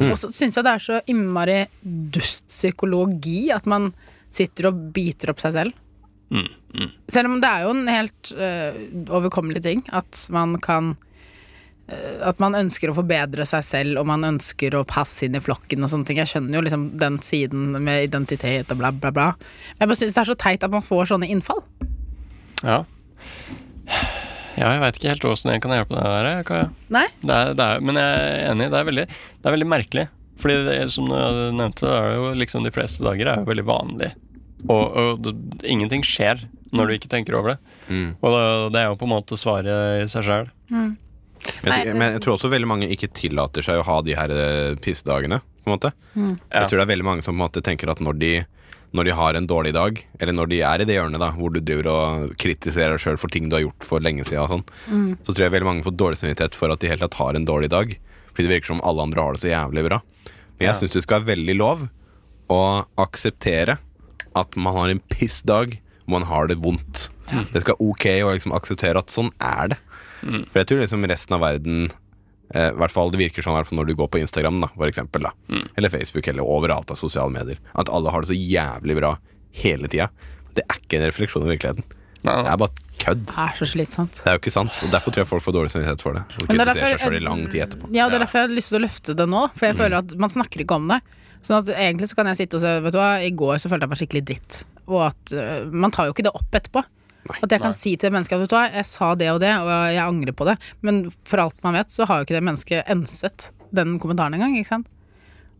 S5: Og så syns jeg det er så innmari dust psykologi at man sitter og biter opp seg selv. eh, Selv om det er jo en helt øh, overkommelig ting at man kan eh, at man ønsker å forbedre seg selv, og man ønsker å passe inn i flokken og sånne ting. Jeg skjønner jo liksom den siden med identitet og bla, bla, bla. Men jeg bare syns det er så teit at man får sånne innfall.
S7: Ja. Ja, jeg veit ikke helt åssen jeg kan hjelpe deg der. jeg kan-
S5: Nei?
S7: Det er, det er, men jeg er enig, det er veldig, det er veldig merkelig. Fordi det, som du nevnte, det er jo liksom de fleste dager er jo veldig vanlige. Og, og det, ingenting skjer når du
S3: Mm.
S7: ikke tenker over det. Og det, det er jo på en måte svaret i seg sjøl.
S3: Men jeg,
S5: Nei,
S3: tror- men jeg tror også veldig mange ikke tillater seg å ha de her eh, pissedagene. På en måte.
S7: Ja.
S3: Jeg tror det er veldig mange som på en måte tenker at når de, når de har en dårlig dag, eller når de er i det hjørnet da, hvor du driver og kritiserer deg sjøl for ting du har gjort for lenge siden, og sånn, så tror jeg veldig mange får dårlig samvittighet for at de helt tatt har en dårlig dag. Fordi det virker som alle andre har det så jævlig bra. Men jeg syns det skal være veldig lov å akseptere at man har en pissdag, og man har det vondt. Det skal være ok å liksom akseptere at sånn er det. For jeg tror liksom resten av verden eh, i hvert fall Det virker sånn i hvert fall når du går på Instagram, da, for eksempel, da. eller Facebook, eller overalt av sosiale medier. At alle har det så jævlig bra hele tida. Det er ikke en refleksjon i virkeligheten.
S7: Nei,
S3: Det
S7: nei.
S3: er bare kødd.
S5: Det er så slitsomt.
S3: Det er jo ikke sant. Og Derfor tror jeg folk får dårlig samvittighet for det. Og
S5: Men det er
S3: kritiserer seg
S5: derfor-
S3: selv i lang tid etterpå.
S5: Ja, og det er derfor jeg har lyst til å løfte det nå, for
S3: Mm.
S5: jeg føler at man snakker ikke om det. Sånn at egentlig så kan jeg sitte og se Vet du hva, i går så følte jeg meg skikkelig dritt. Og at øh, man tar jo ikke det opp etterpå. At jeg kan si til det mennesket at vet du hva, jeg sa det og det, og jeg angrer på det. Men for alt man vet, så har jo ikke det mennesket enset den kommentaren engang, ikke sant.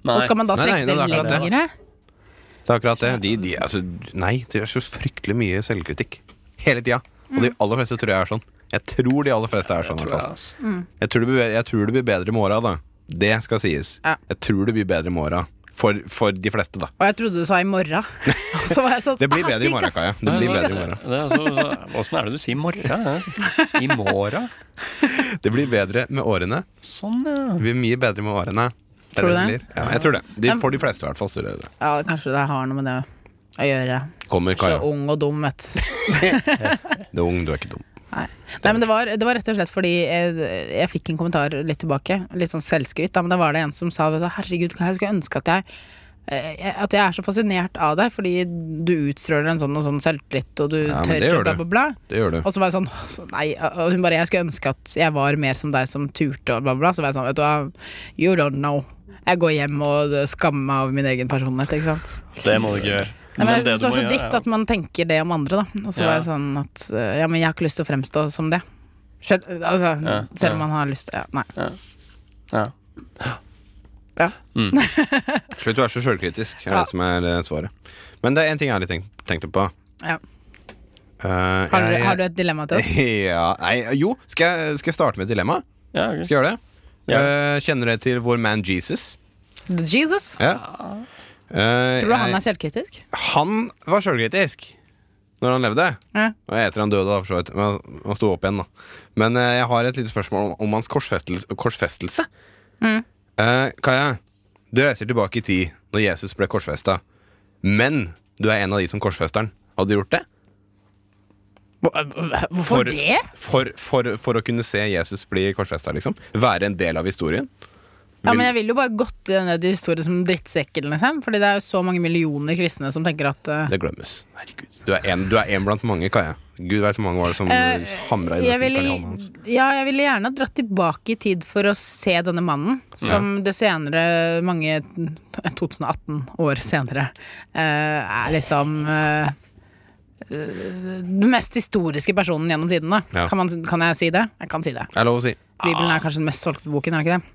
S5: Og skal man da
S3: Nei, nei,
S5: trekke
S3: det er
S5: det
S3: akkurat det.
S5: lengre?
S3: Det er akkurat det. De, de, altså, nei, det er så fryktelig mye selvkritikk. Hele tida. Og de aller fleste tror jeg er sånn. Jeg tror de aller fleste er sånn. i hvert fall. Jeg tror det blir, jeg tror det blir bedre i morgen, da. Det skal sies.
S5: Ja.
S3: Jeg tror det blir bedre i morgen. For, for de fleste, da.
S5: Og jeg trodde du sa i
S3: <laughs>
S5: morgen. <laughs> Og så var jeg sånn
S3: Det blir
S5: ah,
S3: bedre i
S5: digg,
S3: morgen,
S5: ass.
S3: Kaja. Det blir bedre i morgen.
S7: Åssen er det du sier morra? I morra?
S3: Det blir bedre med årene.
S7: Sånn, ja.
S3: Det blir mye bedre med årene. Det er
S5: Tror du
S3: det
S5: det?
S3: blir. Ja, jeg tror det. De, for de fleste, i hvert fall. Så det det.
S5: Ja, kanskje det har noe med det å gjøre.
S3: Kommer,
S5: Så
S3: Kaja.
S5: ung og dum, vet du.
S3: Du er ung, du er ikke dum.
S5: Nei, men det var, det var rett og slett fordi jeg, jeg fikk en kommentar litt tilbake. Litt sånn selvskryt. Da, men da var det en som sa vet du, herregud, jeg skulle ønske at jeg eh, at jeg er så fascinert av deg, fordi du utstråler en sånn og sånn selvtillit, og du
S3: Ja, men
S5: tør
S3: det
S5: ikke
S3: gjør
S5: bla,
S3: du.
S5: bla, bla.
S3: Det gjør du.
S5: Og så var jeg sånn så Nei. Og hun bare Jeg skulle ønske at jeg var mer som deg, som turte, og bla, bla. bla. Så var jeg sånn, vet du hva, you don't know. Jeg går hjem og skammer meg over min egen personlighet, ikke sant.
S7: Det må du ikke gjøre.
S5: Nei, men
S7: det
S5: jeg synes
S7: du
S5: det var
S7: må
S5: så
S7: gjøre,
S5: dritt
S7: er
S5: at man tenker det om andre, da. Og så
S7: Ja.
S5: var jeg sånn at eh, Ja, men jeg har ikke lyst til å fremstå som det. Selv, altså,
S7: Ja, ja.
S5: selv om man har lyst til ja, Nei.
S7: jo- ja.
S3: Slutt å være så sjølkritisk, er
S5: Ja.
S3: det som er eh, svaret. Men det er én ting jeg har litt tenkt, tenkt på.
S5: Ja.
S3: Eh,
S5: Har, du,
S3: jeg-
S5: har du et dilemma
S3: <laughs>
S5: til oss?
S3: ja, nei, jo, skal jeg, skal jeg starte med et dilemma?
S7: Ja, ok.
S3: Skal jeg gjøre det?
S7: Ja.
S3: Eh, kjenner dere til vår man Jesus?
S5: Jesus?
S3: Ja. Eh,
S5: Tror du han
S3: jeg-
S5: er selvkritisk?
S3: han var sjølkritisk når han levde.
S5: Ja.
S3: Og etter han døde, da, for så vidt. Men han- han sto opp igjen, da. Men eh, jeg har et lite spørsmål om, om hans korsfestelse. korsfestelse.
S5: Mm.
S3: Eh, Kaja, du reiser tilbake i tid, når Jesus ble korsfesta. Men du er en av de som korsfester han. Hadde du gjort det?
S5: Hvorfor det?
S3: For, for, for å kunne se Jesus bli korsfesta, liksom. Være en del av historien.
S5: Ja, men jeg vil jo bare gått ned i historien som drittsekken, liksom. Fordi det er jo så mange millioner kristne som tenker at eh,
S3: Det glemmes. Du er en, du er en blant mange, Kaja. Gud veit hvor mange var det som
S5: Eh,
S3: hamra i
S5: jeg ville,
S3: nøkkelen i hånden hans.
S5: ja, jeg ville gjerne dratt tilbake i tid for å se denne mannen, som det senere, mange 2018 år senere, eh, er liksom eh, eh, den mest historiske personen gjennom tidene.
S3: Ja. Ah.
S5: Kan, man, kan jeg si det? Jeg kan si det.
S3: Det er lov å si.
S5: Bibelen er kanskje den mest solgte boken, er det ikke det?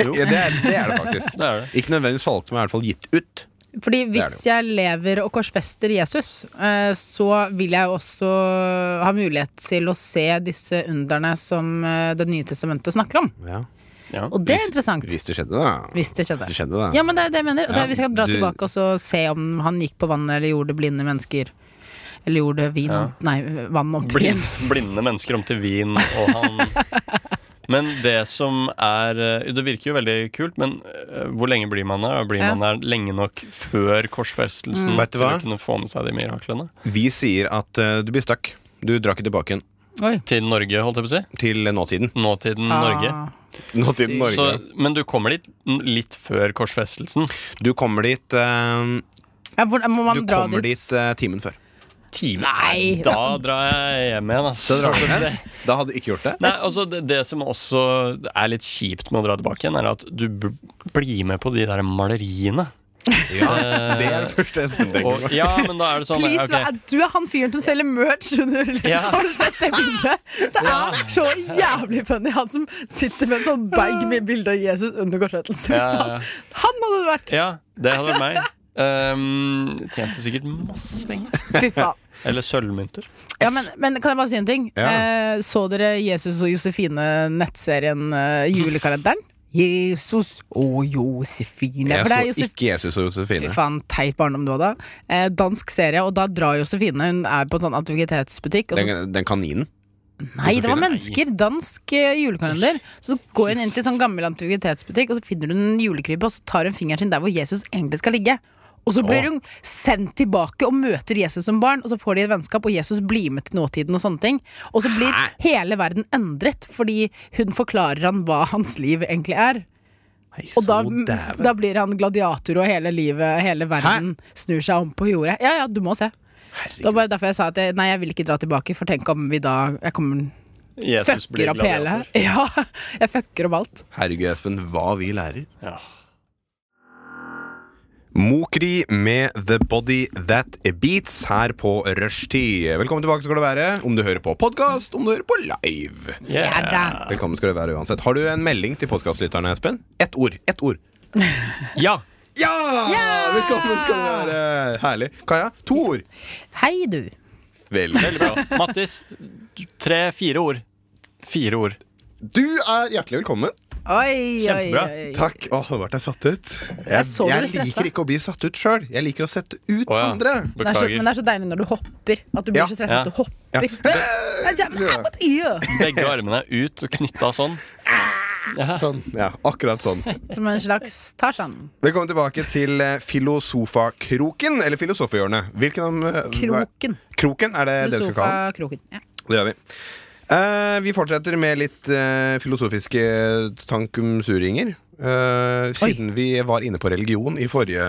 S3: Ja, det, er, det er det faktisk.
S7: Det er det.
S3: Ikke nødvendigvis solgt, men i hvert fall gitt ut.
S5: Fordi hvis
S3: det
S5: jeg lever og korsfester Jesus, eh, så vil jeg også ha mulighet til å se disse underne som eh, Det nye testamentet snakker om.
S7: Ja.
S5: Og det
S3: Hvis-
S5: er interessant.
S3: Hvis det skjedde, da.
S5: Hvis det skjedde.
S3: Hvis det skjedde, da.
S5: Ja, men det er det jeg mener. Og det,
S3: Ja,
S5: er- vi skal dra
S3: du-
S5: tilbake og så se om han gikk på vannet eller gjorde blinde mennesker. Eller gjorde vin om- Nei, vann om til vin.
S7: Blind, blinde mennesker om til vin og han Men det som er eh, Det virker jo veldig kult, men eh, hvor lenge blir man der? Blir
S5: Ja.
S7: man der lenge nok før korsfestelsen
S3: Mm. Vet du
S7: til
S3: hva?
S7: å kunne få med seg de miraklene?
S3: Vi sier at eh, du blir stuck. Du drar ikke tilbake igjen
S5: Oi.
S7: Til Norge, holdt jeg på å si.
S3: til nåtiden.
S7: Nåtiden Norge.
S5: Ah.
S3: Nåtiden
S7: Så,
S3: Norge.
S7: men du kommer dit n- litt før korsfestelsen.
S3: Du kommer dit eh,
S5: Ja, hvor, må man
S3: Du
S5: dra
S3: kommer dit
S5: dit,
S3: eh, timen før.
S7: time.
S5: Nei,
S7: Da drar jeg hjem igjen, ass.
S3: Da drar du hjem? Da hadde du ikke gjort det.
S7: Nei, altså det, det som også er litt kjipt med å dra tilbake igjen, er at du b blir med på de der maleriene.
S3: Ja, det er det første jeg skulle tenke
S7: Og,
S3: på.
S7: ja, men da er det sånn
S5: Please,
S7: ok.
S5: hva er- Du er han fyren som selger merch under
S7: Ja.
S5: <laughs> Har du sett det bildet? Det
S7: Ja.
S5: er så jævlig funny. Han som sitter med en sånn bag med bilde av Jesus under kortsettelsen.
S7: Ja, ja, ja.
S5: Han hadde det vært!
S7: Ja, det hadde vært meg. Um, tjente sikkert masse penger.
S5: Fy faen.
S7: Eller sølvmynter.
S5: Ja, men, men kan jeg bare si en ting?
S3: Ja.
S5: Eh, så dere Jesus og Josefine-nettserien eh, Julekalenderen? Jesus og Josefine.
S3: Jeg
S5: For det
S3: så
S5: er Josef-
S3: ikke Jesus og
S5: Fy
S3: Josefine.
S5: faen, teit barndom du hadde. Eh, dansk serie, og da drar Josefine. Hun er på en sånn antikvitetsbutikk. Og så,
S3: Den, den kaninen.
S5: nei, det var
S3: Josefine, nei.
S5: mennesker! Dansk eh, julekalender. Så går hun inn til sånn gammel antikvitetsbutikk, og så finner hun en julekrybbe, og så tar hun fingeren sin der hvor Jesus egentlig skal ligge. Og så blir
S3: Åh.
S5: hun sendt tilbake og møter Jesus som barn, og så får de et vennskap, og Jesus blir med til nåtiden og sånne ting. Og så blir hele verden endret, fordi hun forklarer han hva hans liv egentlig er. Og da, da blir han gladiator, og hele livet, hele verden snur seg om på jordet. Ja, ja, du må se. Det var bare derfor jeg sa at jeg, nei, jeg vil ikke dra tilbake, for tenk om vi da Jeg kommer
S7: Jesus blir
S5: fucker opp hele
S7: gladiator.
S5: Ja, <laughs> jeg fucker opp alt.
S3: Herregud, Espen, hva vi lærer.
S7: Ja.
S3: Mokri med The Body That Beats her på Rushtid. Velkommen tilbake skal du være, om du hører på podkast, om du hører på live.
S5: Ja, da.
S3: Velkommen skal du være uansett. Har du en melding til podkastlytterne, Espen? Ett ord. Ett ord.
S7: ja.
S3: Ja! Velkommen skal du være. Herlig. Kaja, to ord.
S5: Hei, du.
S3: Veldig
S7: Veldig bra. Mattis, tre-fire ord. Fire ord.
S3: Du er hjertelig velkommen.
S5: Oi, oi,
S7: Kjempebra.
S5: oi.
S3: Takk. Åh, nå ble jeg satt ut. Jeg,
S5: Jeg så dere
S3: jeg
S5: stressa.
S3: liker ikke å bli satt ut sjøl. Jeg liker å sette ut
S7: Å, ja.
S3: andre.
S5: Det er så, men
S7: Beklager.
S5: det er så deilig når du hopper. At du blir
S3: Ja.
S5: så stressa
S7: Ja.
S5: at du hopper.
S3: Ja.
S5: <laughs> Jeg kjenner-
S3: Ja.
S5: Ja.
S7: Begge armene er ut og knytta sånn.
S3: Sånn. Ja, akkurat sånn.
S5: Som en slags Tarzan.
S3: Velkommen tilbake til eh, Filosofakroken, eller Filosofhjørnet. Hvilken av eh, hva-
S5: Kroken.
S3: Kroken er det det du skal kalle den.
S5: Sofakroken. Ja.
S3: Det gjør vi. Eh, vi fortsetter med litt eh, filosofiske tankumsuringer. Eh, siden vi var inne på religion i forrige,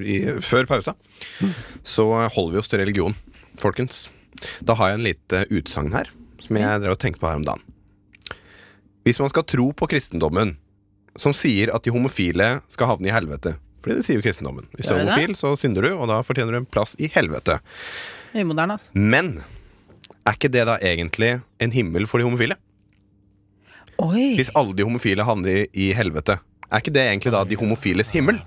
S3: i, før pausa,
S5: Mm.
S3: så holder vi oss til religion, folkens. Da har jeg en lite utsagn her, som
S5: Mm.
S3: jeg drev og tenkte på her om dagen. Hvis man skal tro på kristendommen, som sier at de homofile skal havne i helvete Fordi det sier jo kristendommen. Hvis du er
S5: Gjør det det?
S3: homofil, så synder du, og da fortjener du en plass i helvete.
S5: Umoderne, altså.
S3: Men er ikke det da egentlig en himmel for de homofile?
S5: Oi.
S3: Hvis alle de homofile havner i- i helvete, er ikke det egentlig da de homofiles himmel?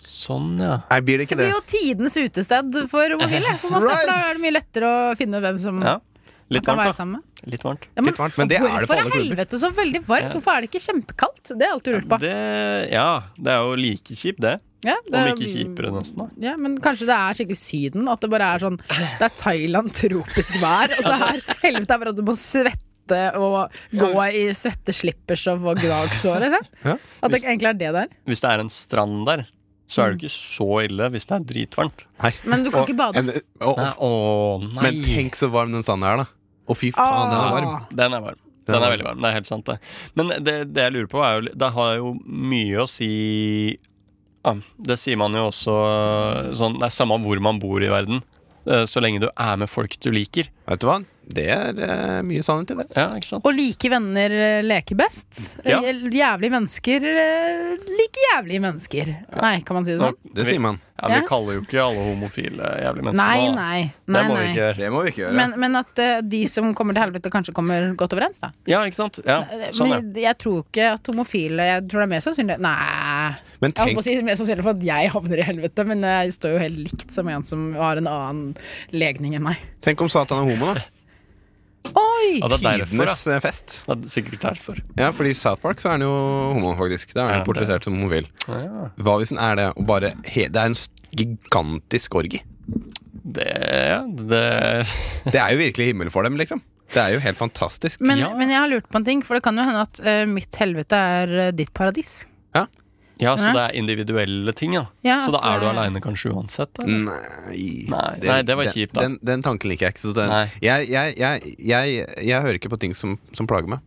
S7: Sånn, ja.
S3: Er, blir det
S5: Det
S3: ikke det?
S5: blir jo tidens utested for homofile.
S3: <laughs>
S5: På en måte,
S3: Right.
S5: for Da er det mye lettere å finne hvem som
S7: ja.
S5: man
S7: Litt
S5: Mm. kan være
S7: varmt, da.
S5: sammen med.
S7: Litt varmt.
S5: Ja,
S3: Litt varmt, men det er det på
S5: hvorfor
S3: alle klubber.
S5: helvete så veldig varmt?
S7: Ja.
S5: Hvorfor er det ikke kjempekaldt? Det har jeg alltid lurt på.
S7: Det, ja, det er jo like kjipt, det.
S5: Ja, det-
S7: Om ikke kjipere, nesten. da
S5: Ja, men kanskje det er skikkelig Syden? At det bare er sånn Det er Thailand, tropisk vær, og så er helvete er bare at du må svette og gå i svette slippers og få gnagsår. liksom.
S3: Ja.
S5: At det egentlig er det der.
S7: Hvis det er en strand der, så er det
S5: Mm.
S7: ikke så ille hvis det er dritvarmt.
S3: Nei.
S5: Men du kan
S3: Og-
S5: ikke bade.
S3: en- og- og-
S7: Åh,
S3: Men tenk så varm den sanden er, da. Å, fy faen, den er
S5: Ah.
S3: varm.
S7: Den er varm. Den er veldig varm, det er helt sant det. Men det, det jeg lurer på er jo Det har jo mye å si ja, Det sier man jo også sånn, Det er samme hvor man bor i verden eh, Så lenge du er med folk du liker
S3: Vet du hva? Det er eh, mye sannhet i det.
S7: Ja, ikke sant?
S5: Og like venner eh, leker best.
S7: Ja.
S5: Eh, Jævlige mennesker eh, liker jævlige mennesker. Nei, kan man si det sånn?
S3: Det
S7: vi,
S3: sier man.
S7: ja, men
S5: Ja.
S7: Vi kaller jo ikke alle homofile jævlig mennesker
S5: Nei,
S7: nå, da.
S5: nei.
S7: Det
S5: nei,
S7: må vi
S5: nei.
S7: ikke gjøre
S3: Det må vi ikke gjøre.
S5: Men, men at eh, de som kommer til helvete, kanskje kommer godt overens, da.
S7: Ja, ikke sant? Ja, sånn ja
S5: men jeg tror ikke at homofile Jeg tror det er mer sannsynlig Nei.
S3: Men
S5: Jeg holdt
S3: tenk
S5: på å si mer sannsynlig for at jeg havner i helvete, men jeg står jo helt likt som en som har en annen legning enn meg.
S3: Tenk om Satan er homo, da.
S5: Oi!
S7: Ja, det er derfor da
S3: Tidenes eh, fest.
S7: Det er sikkert derfor
S3: Ja, fordi i South Park så er han jo homo, faktisk. Da er
S7: Ja,
S3: han
S7: det-
S3: portrettert som homofil.
S7: ja,
S3: Hva hvis han er det, og bare he Det er en s- gigantisk orgi.
S7: Det, ja, det
S3: Det er jo virkelig himmel for dem, liksom. Det er jo helt fantastisk.
S5: Men,
S7: Ja.
S5: men jeg har lurt på en ting, for det kan jo hende at eh, mitt helvete er eh, ditt
S3: <laughs>
S5: paradis.
S7: Ja, så
S5: Nei.
S7: det er individuelle ting, ja.
S5: Ja, Mm.
S7: så da
S5: at,
S7: er du
S5: eh,
S7: aleine kanskje uansett? Eller?
S3: Nei
S7: Nei, nei, det var
S3: den,
S7: kjipt, da.
S3: Den, den tanken liker jeg ikke. Så det,
S7: Nei.
S3: jeg, jeg, jeg, jeg, jeg hører ikke på ting som, som plager meg.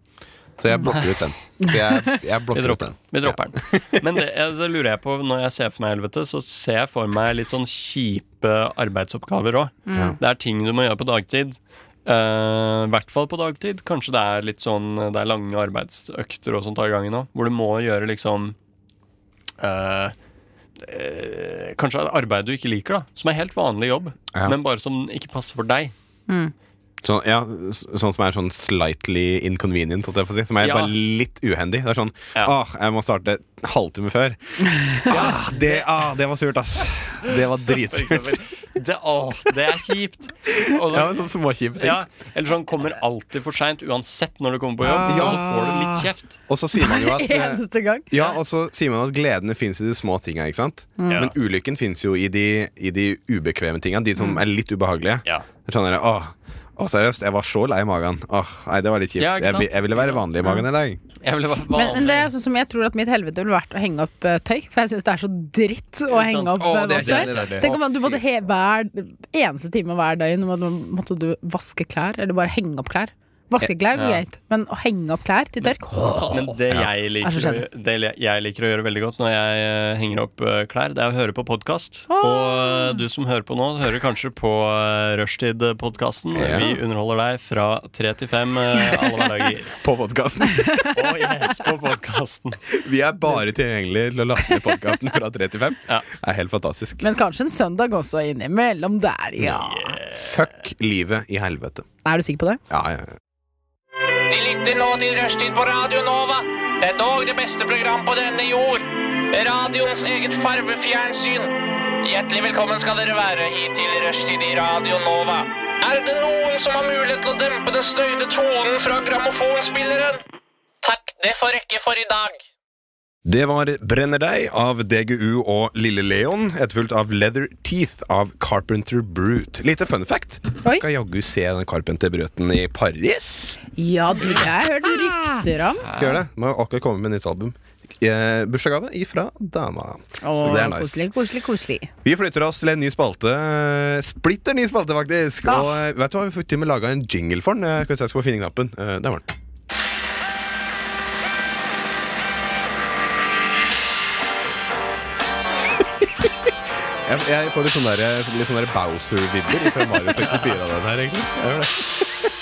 S3: Så jeg blokker ut den. Så jeg,
S7: <laughs>
S3: jeg
S7: Vi
S3: blokker ut
S7: dropper den.
S3: den.
S7: Vi dropper den. <laughs> Men det, altså, lurer jeg på, når jeg ser for meg helvete, så ser jeg for meg litt sånn kjipe arbeidsoppgaver òg.
S3: Mm.
S7: Det er ting du må gjøre på dagtid. Eh, I hvert fall på dagtid. Kanskje det er litt sånn Det er lange arbeidsøkter og sånt av gangen òg, hvor du må gjøre liksom eh, eh, Kanskje arbeid du ikke liker, da. Som er helt vanlig jobb,
S3: Ja.
S7: men bare som ikke passer for deg.
S3: Sånn, ja, s- sånn som er sånn slightly inconvenient, holdt jeg på å si. Som er
S7: Ja.
S3: bare litt uhendig. Det er sånn
S7: Ja.
S3: Åh, jeg må starte halvtime
S7: <laughs>
S3: før. ah, det, ah, det var surt, ass. Det
S7: <laughs>
S3: var
S7: For
S3: dritsurt.
S7: eksempel. <laughs> Det, åh, det er kjipt! Og
S3: Ja,
S7: da-
S3: men sånn småkjipe ting.
S7: Ja, eller sånn kommer alltid for seint uansett når du kommer på jobb.
S3: Ja.
S7: Og så får du litt kjeft.
S3: Og så sier man
S7: <laughs>
S3: jo at eh,
S5: Eneste gang.
S3: Ja, og så sier man at gledene fins i de små tinga, ikke sant?
S7: Mm. Ja.
S3: Men ulykken fins jo i de, i de ubekvemme tinga, de som er litt ubehagelige.
S7: Mm. Ja.
S3: Det er Sånn der, åh, åh, seriøst, jeg var så lei i magen. Åh, nei, det var litt kjipt.
S7: Ja, ikke
S3: jeg,
S7: sant?
S3: vil- jeg ville være vanlig i magen i dag.
S7: Jeg ville bare
S5: Men, men det er sånn som jeg tror at mitt helvete ville vært å henge opp eh, tøy. For jeg syns det er så dritt å henge opp
S3: Å, det
S5: eh,
S3: er
S5: vått tøy.
S3: kjedelig, det er det.
S5: Tenk om
S3: Å,
S5: du måtte he hver eneste time hver døgn måtte, måtte du vaske klær, eller bare henge opp klær. Vaske klær går greit, men å henge opp klær til tørk
S7: Men det, jeg liker,
S5: Er så
S7: å
S5: kjedelig.
S7: gjø- det le- jeg liker å gjøre veldig godt når jeg eh, henger opp eh, klær, det er å høre på podkast. Og eh, du som hører på nå, hører kanskje på eh, Rushtid-podkasten.
S3: Ja.
S7: Vi underholder deg fra tre til fem eh, alle
S3: <laughs>
S7: hverdager.
S3: På podkasten.
S7: <laughs> Og yes, på podkasten.
S3: Vi er bare tilgjengelige til å laste ned podkasten fra 3 til 5.
S7: Ja.
S3: Det er helt fantastisk.
S5: Men kanskje en søndag også innimellom der, ja.
S3: Fuck livet i helvete.
S5: Er du sikker på det?
S3: Ja, ja, ja.
S2: De lytter nå til Rushtid på Radio Nova. Det er dog det beste program på denne jord. Radioens eget farvefjernsyn. Hjertelig velkommen skal dere være hit til Rushtid i Radio Nova. Er det noen som har mulighet til å dempe den støyte tonen fra grammofonspilleren? Takk, det får rekke for i dag.
S3: Det var Brenner deg av DGU og Lille Leon, etterfulgt av Leather Teeth av Carpenter Brute. Lite fun fact.
S5: Oi.
S3: Skal jaggu se den Carpenter Bruten i Paris.
S5: Ja, du, jeg har hørt rykter om.
S3: Skal gjøre det. Må jo akkurat komme med nytt album. Eh, bursdagsgave ifra dama.
S5: Å,
S3: Så det er
S5: koselig,
S3: nice.
S5: koselig, koselig.
S3: Vi flytter oss til en ny spalte. eh, Splitter ny spalte, faktisk.
S5: Ah.
S3: Og eh, vet du hva, vi fikk til og med laga en jingle for den. Eh, Skal vi se, jeg skal bare finne knappen. Eh, der var den. <laughs> Jeg, jeg får litt sånne, der- eh, litt sånne der Bowser-vibber fra Mario 64 av den her, egentlig. Jeg gjør det.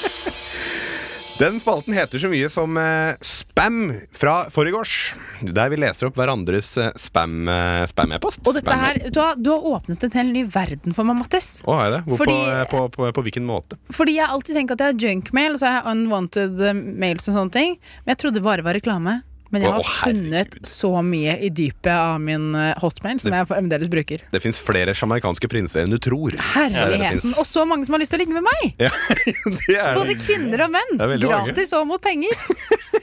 S3: Den spalten heter så mye som eh, Spam fra forrige Der vi leser opp hverandres eh, spam, eh, spam-e-post.
S5: Og dette
S3: Spam-
S5: her, du har, du har åpnet en hel ny verden for meg, Mattis.
S3: Å, er det? Hvor,
S5: Fordi-
S3: på, eh, på, på, på hvilken måte?
S5: Fordi jeg alltid tenker at jeg har junkmail, og så har jeg unwanted eh, mails og sånne ting. Men jeg trodde det bare var reklame. Men jeg
S3: Å,
S5: har
S3: herregud.
S5: funnet så mye i dypet av min eh, hotmail som jeg fremdeles bruker.
S3: Det fins flere sjamaikanske prinser enn du tror. <laughs> det
S5: Herligheten!
S3: finnes.
S5: Og så mange som har lyst til å ligge med meg!
S3: Ja, det er
S5: Både
S3: det.
S5: kvinner og menn.
S3: Det er veldig mange.
S5: Gratis og mot penger.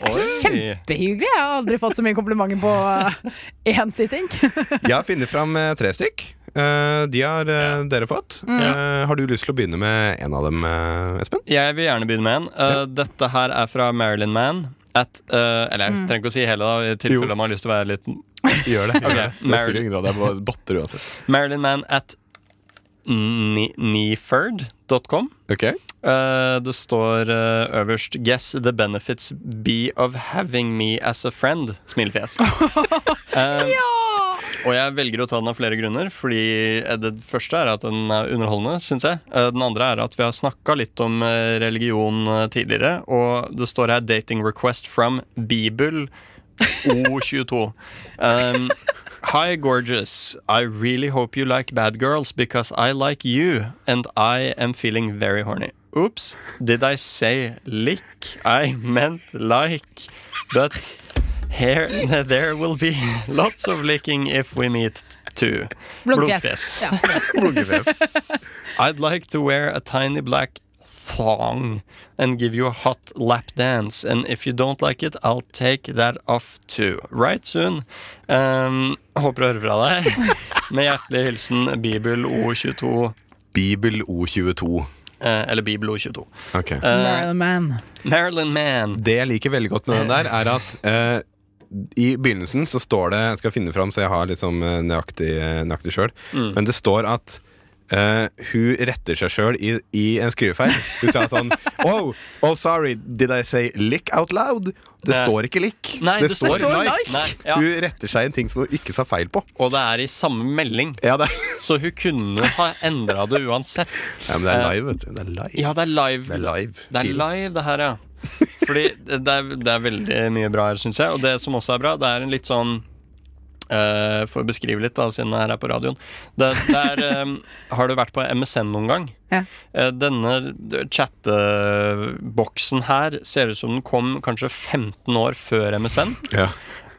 S7: Oi.
S5: Kjempehyggelig. Jeg har aldri fått så mye komplimenter på eh, én <laughs> sitting.
S3: Jeg har funnet fram eh, tre stykk. Eh, de har eh, dere fått.
S5: Mm.
S3: Eh, har du lyst til å begynne med en av dem, eh, Espen?
S7: Jeg vil gjerne begynne med en. Uh, Dette her er fra Marilyn Man. At, uh, eller
S5: Mm.
S7: jeg trenger ikke å si hele, da, i
S3: Jo.
S7: tilfelle man har lyst til å være litt
S3: Gjør det.
S7: Ok, det. Det Mary. spiller
S3: grad. Jeg bare datter uansett.
S7: Marilyn Man at ni- neaford.com.
S3: Ok,
S7: Eh, det står eh, øverst 'Guess the benefits be of having me as a friend'. Smilefjes. Eh, Og jeg velger å ta den av flere grunner. Fordi eh, Det første er at den er underholdende, syns jeg. Eh, Den andre er at vi har snakka litt om eh, religion eh, tidligere. Og det står her 'Dating request from Bibel O22'. Um, Hi, gorgeous. I really hope you like bad girls because I like you, and I am feeling very horny. Oops, did I say lick? I meant like. But here, <laughs> there will be lots of licking if we meet too.
S5: Blunkefjes.
S7: Blunkfjes.
S5: Ja.
S3: Blunkefjes.
S7: I'd like to wear a tiny black thong and give you a hot lap dance. And if you don't like it, I'll take that off too. Right soon. Um, håper å høre fra deg. Med hjertelig hilsen Bibel O22.
S3: Bibel O22.
S7: eh, eller Bibel O22.
S3: Ok
S5: Marilyn Man.
S7: Marilyn Man.
S3: Det jeg liker veldig godt med den der, er at eh, i begynnelsen eh,
S7: Mm.
S3: så står det Jeg skal finne fram så jeg har liksom eh, nøyaktig, nøyaktig sjøl. Men det står at eh, hun retter seg sjøl i, i en skrivefeil. Hun sa sånn <laughs> Oh, oh sorry, did I say lick out loud? Det
S7: Nei.
S3: står ikke lick.
S7: Nei, det står
S5: like.
S7: Nei, ja.
S3: Hun retter seg i en ting som hun ikke sa feil på.
S7: Og det er i samme melding,
S3: Ja, det,
S7: så hun kunne ha endra det uansett.
S3: <laughs> ja, men det er live, vet du. Det er live.
S7: Ja, det er live.
S3: Det er live.
S7: Det er
S3: Fil.
S7: live, det her, ja. Fordi det er, det er veldig mye bra her, syns jeg. Og det som også er bra, det er en litt sånn eh, For å beskrive litt, da, siden det her er på radioen. Det, det er, eh, har du vært på MSN noen gang?
S5: Ja.
S7: Eh, denne chatteboksen her ser ut som den kom kanskje 15 år før MSN.
S3: Ja.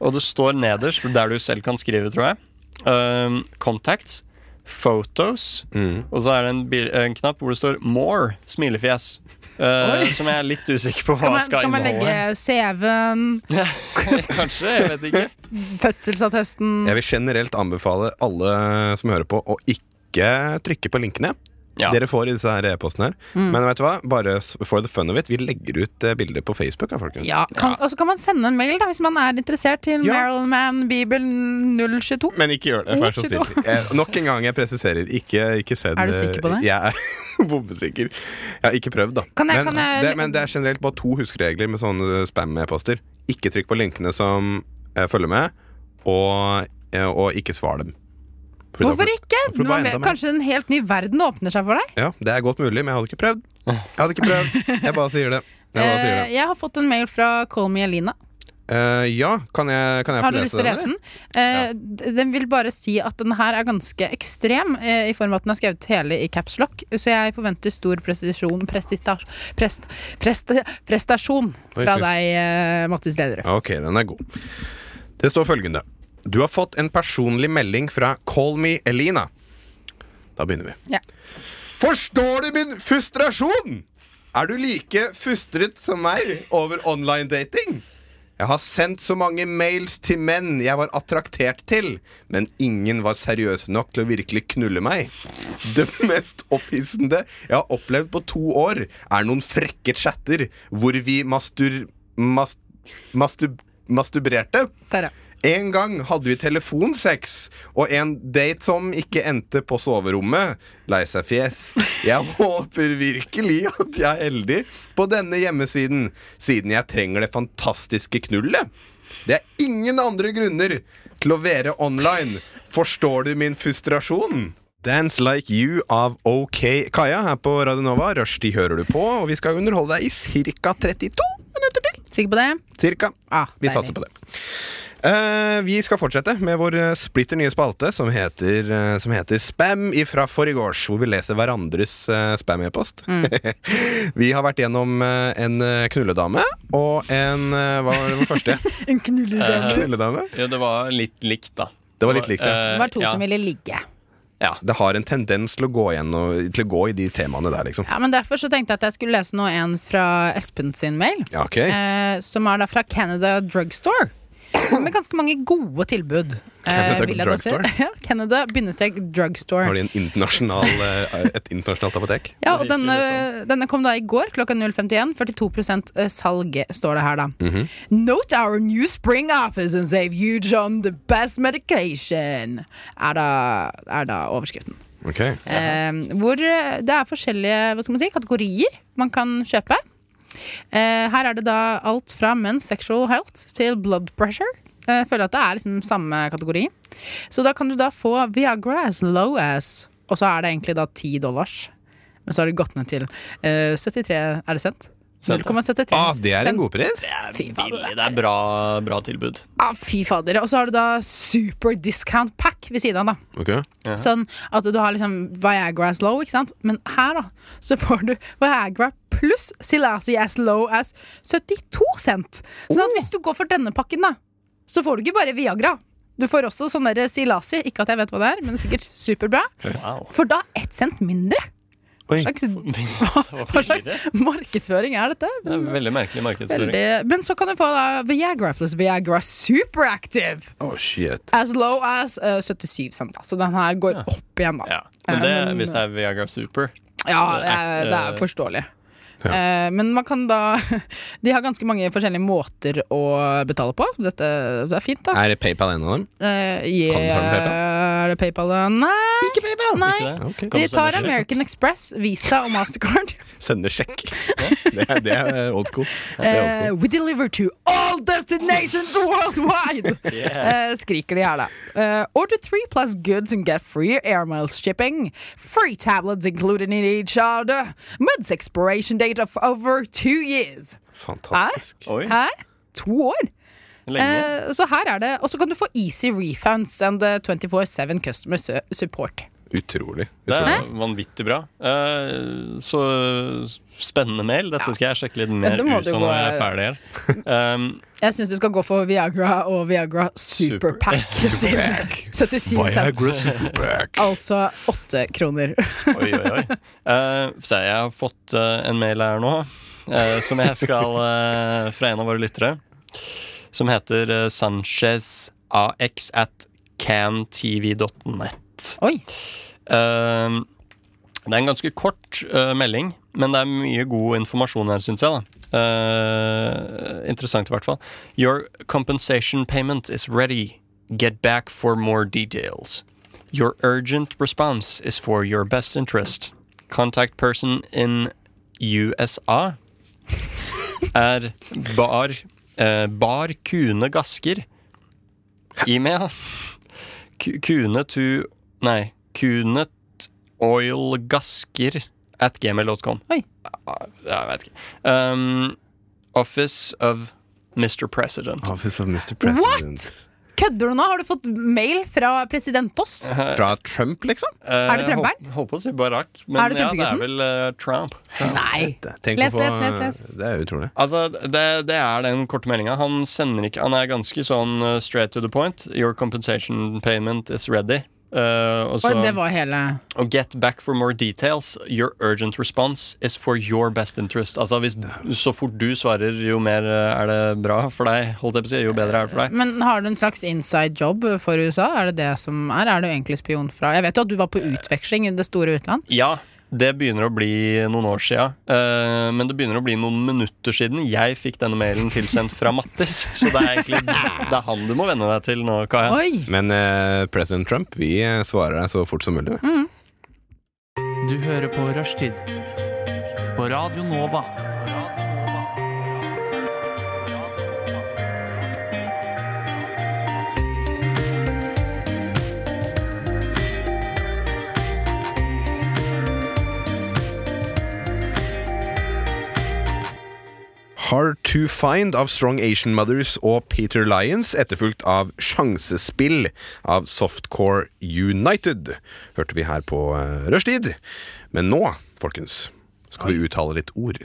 S7: Og det står nederst, der du selv kan skrive, tror jeg, eh, contacts, photos,
S3: Mm.
S7: og så er det en, bil, en knapp hvor det står more smilefjes. eh, som jeg er litt usikker på
S5: Skal
S7: hva
S5: man,
S7: skal,
S5: skal man legge
S7: inneholde.
S5: CV-en,
S7: <laughs> Kanskje, jeg
S3: <laughs>
S7: vet ikke.
S5: fødselsattesten
S3: Jeg vil generelt anbefale alle som hører på, å ikke trykke på linkene.
S7: Ja.
S3: Dere får i disse her e-postene her.
S5: Mm.
S3: Men vet du hva? Bare s- for the fun of it, vi legger ut eh, bilder på Facebook. Ja, folkens.
S5: ja, kan, Og så kan man sende en mail da hvis man er interessert til
S3: Ja.
S5: Marilyn Mann Bibelen 022.
S3: Men ikke gjør det. Vær så snill. Eh, Nok en gang, jeg presiserer. Ikke, ikke send eh,
S5: Er du sikker på det?
S3: Jeg er <laughs> bombesikker. Jeg har ikke prøvd, da.
S5: Kan jeg-
S3: men,
S5: kan jeg-
S3: det, men det er generelt bare to huskeregler med sånne eh, spam-e-poster. Ikke trykk på linkene som eh, følger med, og, eh, og ikke svar dem. For da-
S5: Hvorfor ikke?
S3: for det var
S5: Man,
S3: enda mer.
S5: kanskje en helt ny verden åpner seg for deg?
S3: Ja, det er godt mulig, men jeg hadde ikke prøvd. Jeg hadde ikke prøvd, Jeg bare sier det. Jeg bare sier
S5: <laughs> Eh,
S3: det.
S5: jeg har fått en mail fra Call Me Elina.
S3: Eh, ja, kan jeg, kan jeg
S5: Har
S3: få
S5: du lyst
S3: lese
S5: til å
S3: den?
S5: lese den? Eh, d- Den vil bare si at den her er ganske ekstrem, eh, i form av at den er skrevet hele i caps lock, så jeg forventer stor presisjon prestistas- prest, prest, prestasjon
S3: Oi,
S5: fra
S3: tusen.
S5: deg, eh, Mattis Lederud.
S3: Ok, den er god. Det står følgende. Du har fått en personlig melding fra Call Me Elina. Da begynner vi.
S5: Ja.
S3: Forstår du min frustrasjon? Er du like fustret som meg over online dating? Jeg har sendt så mange mails til menn jeg var attraktert til, men ingen var seriøse nok til å virkelig knulle meg. Det mest opphissende jeg har opplevd på to år, er noen frekke chatter hvor vi mastur... Mas, mastu, mastubrerte.
S5: Der, ja.
S3: En gang hadde vi telefonsex og en date som ikke endte på soverommet. Lei seg fjes. Jeg <laughs> håper virkelig at jeg er heldig på denne hjemmesiden, siden jeg trenger det fantastiske knullet. Det er ingen andre grunner til å være online. Forstår du min frustrasjon? Dance Like You av OK Kaja her på Radionova. Rushtid hører du på, og vi skal underholde deg i ca. 32 minutter til.
S5: Sikker på det?
S3: Cirka.
S5: Ah,
S3: Vi
S5: deilig.
S3: satser på det. Eh, vi skal fortsette med vår eh, splitter nye spalte som heter, eh, som heter Spam ifra forgårs, hvor vi leser hverandres eh, spam-e-post.
S5: Mm.
S3: <laughs> vi har vært gjennom eh, en eh, knulledame og en eh, Hva var det
S5: <laughs>
S3: første?
S5: En
S3: Eh,
S5: knulledame.
S3: knulledame?
S7: Ja, det var litt likt, da. Eh,
S3: Det var litt likt, ja.
S5: Det var to som ville ligge.
S3: Det har en tendens til å gå, igjennom, til å gå i de temaene der, liksom.
S5: Ja, men Derfor så tenkte jeg at jeg skulle lese nå en fra Espen sin mail.
S3: Ja, ok.
S5: Eh, som er da fra Canada Drugstore. Med ganske mange gode tilbud. eh,
S3: Canada
S5: vil jeg da si.
S3: Drugstore?
S5: <laughs> Ja, Canada-drugstore.
S3: Har de en internasjonal, eh, et internasjonalt
S5: <laughs>
S3: apotek?
S5: Ja, og denne, denne kom da i går klokka 051. 42 eh, salg, står det her, da. Note our new spring office and save huge on the best medication, er da, er da overskriften.
S3: Ok.
S5: Eh, hvor eh, det er forskjellige hva skal man si, kategorier man kan kjøpe. Eh, her er det da alt fra men's sexual health til blood pressure. Eh, jeg føler at det er liksom samme kategori. Så da kan du da få Viagra as low as, og så er det egentlig da 10 dollars. Men så har det gått ned til eh, 73 Er det sent? 0,73
S3: Ah, det er en
S5: cent.
S3: god pris.
S5: Fy fader.
S7: Billig. Det er bra, bra tilbud.
S5: Ah, fy fader. Og så har du da super discount pack ved siden av, da.
S3: Ok.
S5: Sånn at du har liksom Viagra as low, ikke sant? Men her, da, så får du Viagra pluss Silasi as low as 72 cent. Sånn at hvis du går for denne pakken, da, så får du ikke bare Viagra. Du får også sånn der Silasi, ikke at jeg vet hva det er, men sikkert superbra.
S7: Wow. <laughs>
S5: For da ett cent mindre.
S3: Oi.
S5: Hva slags, <laughs> hva slags markedsføring er dette?
S7: Det er veldig merkelig markedsføring.
S5: Veldig. Men så kan du få da Viagra pluss Viagra Superactive
S3: Oh, shit.
S5: as low as eh, 77 cent. da. Så den her går opp igjen, da.
S7: Ja. Men det,
S5: Men-
S7: hvis det er Viagra Super
S5: Ja,
S7: Det er-
S5: eh, det er forståelig. Eh, Men man kan da <laughs> De har ganske mange forskjellige måter å betale på. Dette det er fint, da.
S3: Er det PayPal en av dem?
S5: Eh,
S3: Kan du ta den
S5: yeah, er det PayPal? da? Nei,
S3: Ikke PayPal!
S5: Nei.
S7: Ikke det?
S3: Ok.
S7: Kan
S5: De
S7: du
S5: tar
S7: sende sjekk?
S5: American Express, Visa og Mastercard.
S3: Sende
S5: <laughs>
S3: sjekk. Det er, det er old school. Det er old
S5: Eh,
S3: school.
S5: we deliver to all destinations
S3: <laughs>
S5: worldwide! Eh, skriker de her, da. Eh, order three plus goods and get free airmails shipping. Free tablets included in each order. Months expiration date of over two years.
S3: Fantastisk.
S7: Oi,
S5: Hæ? To år?
S7: lenge.
S5: Eh, så her er det Og så kan du få easy refunds and eh, 24-7 customer su- support.
S3: Utrolig.
S7: Det
S3: Utrolig.
S7: er vanvittig bra. Eh, så spennende mail. Dette skal jeg sjekke litt mer
S5: Dette
S7: ut
S5: må
S7: av
S5: du
S7: når jeg er
S5: gå-
S7: ferdig her. Um,
S5: Jeg syns du skal gå for Viagra og Viagra
S3: <laughs>
S5: Superpack til <laughs> 77 cent.
S3: Viagra Superpack.
S5: Altså åtte kroner.
S7: Oi, oi, oi. Eh, så jeg har fått eh, en mail her nå, eh, som jeg skal eh, fra en av våre lyttere. Som heter eh, Sanchez AX at cantv.net.
S5: Oi.
S7: Eh, det er en ganske kort eh, melding, men det er mye god informasjon her, syns jeg. da. Eh, interessant, i hvert fall. Your compensation payment is ready. Get back for more details. Your urgent response is for your best interest. Contact person in USA er bar, eh, bar Kune Gasker. E-mail Ku- Kune to Nei. Kunet oil gasker at gmail.com.
S5: Oi.
S7: Jeg vet ikke. Um, office of Mr. President.
S3: Office of Mr. President.
S5: Kødder du nå? Har du fått mail fra president Oss?
S3: Fra Trump, liksom?
S7: er
S5: det trumperen?
S7: Holdt på å si Barack,
S5: Er det
S7: men ja, det
S5: trumpegutten?
S7: er vel eh, Trump.
S5: Nei.
S3: Tenk
S5: Les,
S3: å få-
S5: les, les, les.
S3: Det er utrolig.
S7: Altså, det, det er den korte meldinga. Han sender ikke Han er ganske sånn eh, straight to the point. Your compensation payment is ready. Eh, og så,
S5: Oi, det var hele
S7: og get back for more details. Your urgent response is for your best interest. Altså, hvis, så fort du svarer, jo mer eh, er det bra for deg. Holdt jeg på å si, jo bedre er det for deg.
S5: Men har du en slags inside job for USA? Er det det som er? Er du egentlig spion fra Jeg vet jo at du var på utveksling i det store utland.
S7: Ja, det begynner å bli noen år sia. eh, men det begynner å bli noen minutter siden jeg fikk denne mailen tilsendt fra Mattis. Så det er egentlig det er han du må venne deg til nå, Kaja.
S5: Oi!
S3: Men eh, president Trump, vi eh, svarer deg så fort som mulig. vi.
S5: Mm.
S10: Du hører på Rushtid på Radio Nova.
S3: Hard to Find av Strong Asian Mothers og Peter Lyons, etterfulgt av Sjansespill av Softcore United, hørte vi her på eh, rushtid. Men nå, folkens, skal vi uttale litt ord.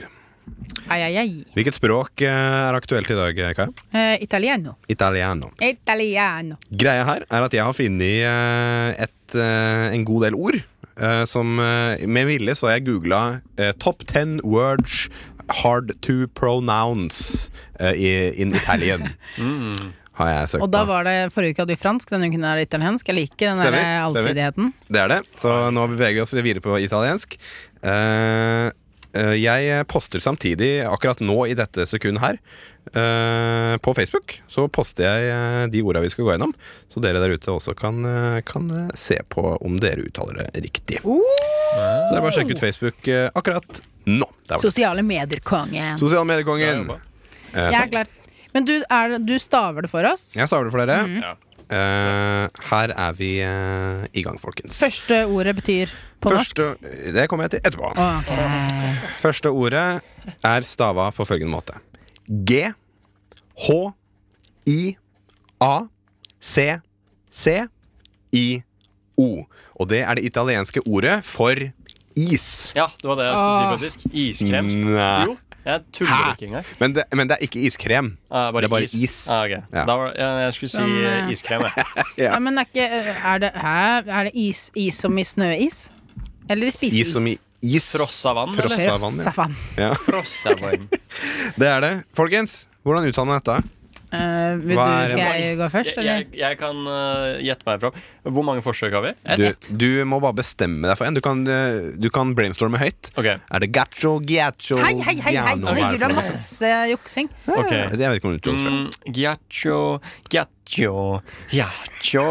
S5: Ai, ai, ai.
S3: Hvilket språk eh, er aktuelt i dag, Kaja?
S5: Eh, italiano.
S3: Italiano.
S5: Italiano.
S3: Greia her er at jeg har funnet eh, et, eh, en god del ord. eh, Som eh, med vilje så har jeg googla eh, 'Top ten words hard to pronounce eh, i- in
S5: <laughs>
S3: Italian'. Har jeg søkt
S5: Mm. Og da
S3: på.
S5: var det forrige uke hadde vi fransk, denne uken er det italiensk. Jeg liker den der
S3: Stemmer, stemmer.
S5: allsidigheten.
S3: Det er det. Så nå beveger vi oss videre på italiensk. Eh, eh, jeg poster samtidig, akkurat nå i dette sekundet her, eh, på Facebook, så poster jeg eh, de orda vi skal gå gjennom. Så dere der ute også kan, eh, kan eh, se på om dere uttaler det riktig. Så det er bare å sjekke ut Facebook eh, akkurat nå. Der var det.
S5: Sosiale medier-kongen.
S3: Sosial mediekongen.
S5: Jeg er klar. Men du, er, det- du staver det for oss?
S3: Jeg staver det for dere. Eh, her er vi eh, i gang, folkens.
S5: Første ordet betyr på norsk. Ah,
S3: Første, det kommer jeg til etterpå.
S5: Ok.
S3: Første ordet er stava på følgende måte. G, H, I, A, C, C, I, O. Og det er det italienske ordet for is.
S7: Ja, det var det jeg skulle si, faktisk.
S3: Ah.
S7: Iskrem.
S3: Nei.
S7: Jo, jeg tuller ikke engang.
S3: Men det, men det er ikke iskrem.
S7: Ah,
S3: det er bare is.
S7: Ah, ok.
S3: Ja.
S7: da var, ja, jeg skulle si
S5: Men,
S7: eh, iskrem, jeg.
S3: <laughs>
S5: Ja, men er, ikke, er det, hæ? Er det is, is som i snøis? Eller i spiseis?
S3: Is som i is.
S7: Frossa vann,
S3: Frossa
S7: eller?
S3: vann, ja.
S5: Saffan.
S3: Ja.
S7: Frossa vann.
S3: Det er det. Folkens, hvordan uttaler man dette?
S5: Eh, vil du,
S3: Hva er-
S5: skal jeg gå først,
S7: Jeg,
S5: eller?
S7: jeg, jeg kan eh, gjette meg fram. Hvor mange forsøk har vi?
S3: Du, du må bare bestemme deg for en. Du kan, eh, du kan brainstorme høyt. Er det gacho, giacho
S5: Hei, hei, hei! hei
S3: giano?
S5: Herregud,
S3: Hva er
S5: det
S3: for
S5: er
S3: noe?
S5: masse juksing.
S3: Ok. Jeg vet ikke om du tror det.
S7: Mm, Giaccio, giaccio, giaccio,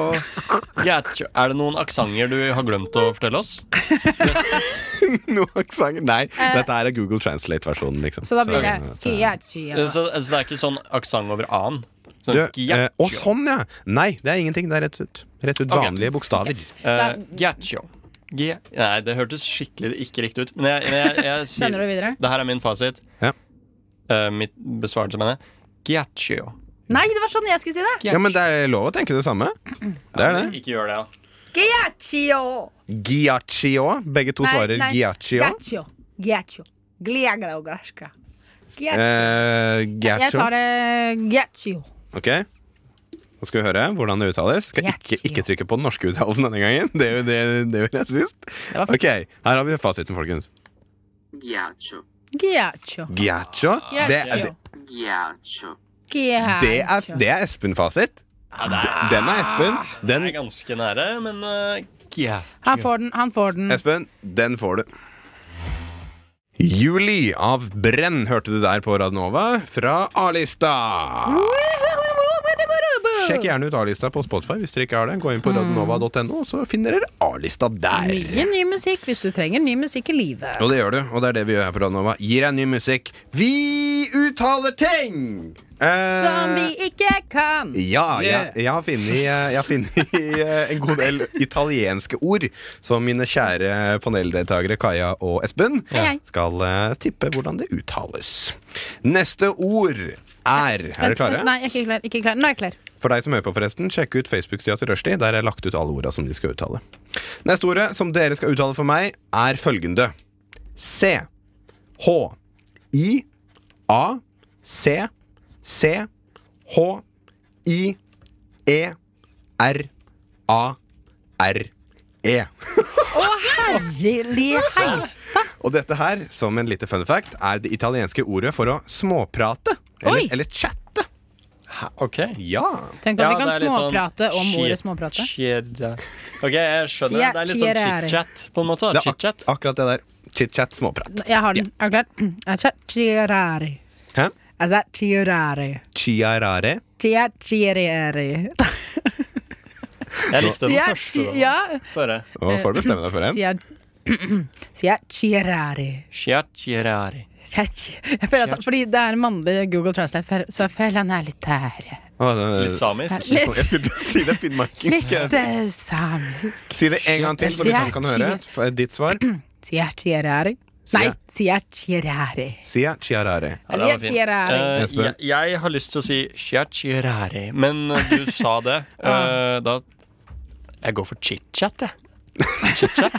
S7: giaccio Er det noen aksenter du har glemt å fortelle oss?
S3: Noen aksenter? Nei,
S5: Eh.
S3: dette her er Google Translate-versjonen, liksom.
S5: Så da blir det
S3: Så-
S5: Kiachi.
S7: Eh, Så, så det er ikke sånn aksent over annen? Sånn
S3: Du, eh,
S7: giaccio.
S3: å, sånn, ja! Nei, det er ingenting. Det er rett ut. Rett ut
S7: Ok.
S3: vanlige bokstaver.
S7: Eh, Giaccio. Gi- Nei, det hørtes skikkelig ikke riktig ut. Men jeg, men jeg, jeg,
S5: <laughs>
S7: sier-
S5: Skjønner du videre?
S7: Det her er min fasit. Eh, mitt besvarelse, mener jeg. Giaccio.
S5: Nei, det var sånn jeg skulle si det!
S3: Ja, men det er lov å tenke det samme. Det er det.
S7: Ikke gjør det, ja.
S5: Giaccio!
S3: Giaccio. Begge to svarer
S5: Nei, nei.
S3: giaccio.
S5: Giaccio. Giaccio. Gliaglaugaska. Giaccio.
S3: Eh,
S5: Jeg
S3: giaccio.
S5: tar eh, det Giaccio.
S3: Ok Nå skal vi høre hvordan det uttales. Skal ikke, ikke trykke på den norske uttalelsen denne gangen. Det er jo det, det gjorde jeg sist.
S5: var fint.
S3: Ok, Her har vi fasiten, folkens.
S11: Ghiaccio.
S5: Giaccio.
S3: Giaccio. Det, er- det,
S11: Ghiaccio.
S3: det, er, det er Espen-fasit. Den er Espen.
S5: Ah.
S3: Den
S7: er ganske nære, men eh,
S5: Han får den. han får den
S3: Espen, den får du. Juli av Brenn hørte du der på Radnova fra A-lista. Sjekk gjerne ut A-lista på Spotify hvis dere ikke har det. Gå inn på
S5: Hmm.
S3: radnova.no, så finner dere A-lista der.
S5: Mye ny musikk hvis du trenger ny musikk i livet.
S3: Og det gjør du, og det er det vi gjør her på Radnova. Gir deg ny musikk. Vi uttaler ting! Eh,
S5: Som vi ikke kan.
S3: Ja, jeg, jeg har funnet, eh, jeg har funnet eh, en god del italienske ord som mine kjære paneldeltakere Kaja og Espen
S5: Hei, hei.
S3: skal eh, tippe hvordan det uttales. Neste ord er Er dere
S5: Vent, vent,
S3: klare?
S5: Nei, jeg er ikke klar. Ikke klar. Nå er jeg klar.
S3: For deg som hører på, forresten, sjekk ut Facebook-sida til Rushdie. Der er lagt ut alle orda som de skal uttale. Neste ordet som dere skal uttale for meg, er følgende. C. H. I. A. C. C. H. I. E. R. A. R. E.
S5: Å, herlighet!
S3: Og dette her, som en lite fun fact, er det italienske ordet for å småprate.
S5: Oi.
S3: Eller, eller chatte. Ja.
S5: Tenk at vi kan
S7: sånn
S5: småprate om ordet småprate.
S7: Ok, jeg skjønner. Det er litt sånn
S5: Chiacchierare.
S7: chit-chat, på en måte.
S3: Det er ak
S7: Chit-chat.
S3: akkurat det der. Chit-chat, småprat.
S5: Jeg har den. Er du klar? Altså, Chiarari.
S3: Hæ?
S5: Altså, Chiarari.
S3: Chiarare.
S5: Chia, chiarari.
S7: Jeg likte den
S5: Chia-
S7: første. da.
S5: Ja.
S7: Føre.
S3: Nå
S5: Eh,
S3: får du bestemme deg for en.
S5: <clears throat> Chia, chia, chiarari.
S7: Chiacchierare.
S5: Chia, chi- Jeg føler at, fordi det er en mannlig Google Translate, for- så jeg føler han er litt der.
S3: Å, det-
S7: Litt samisk.
S5: Litt-
S3: Jeg skulle <laughs> til å si det er finnmarking.
S5: Litt eh, samisk.
S3: Si det en gang til, så lytteren kan høre f- ditt svar.
S5: Chia, chiarari. Nei, chia, chiarari.
S3: Sia chiarare.
S7: Ja, det var fint.
S5: Chiacchierare.
S7: Eh,
S3: Espen?
S7: jeg, jeg har lyst til å si chiacchierare, men du
S5: <laughs>
S7: sa det. Eh, da Jeg går for chit-chat, jeg. Chit-chat?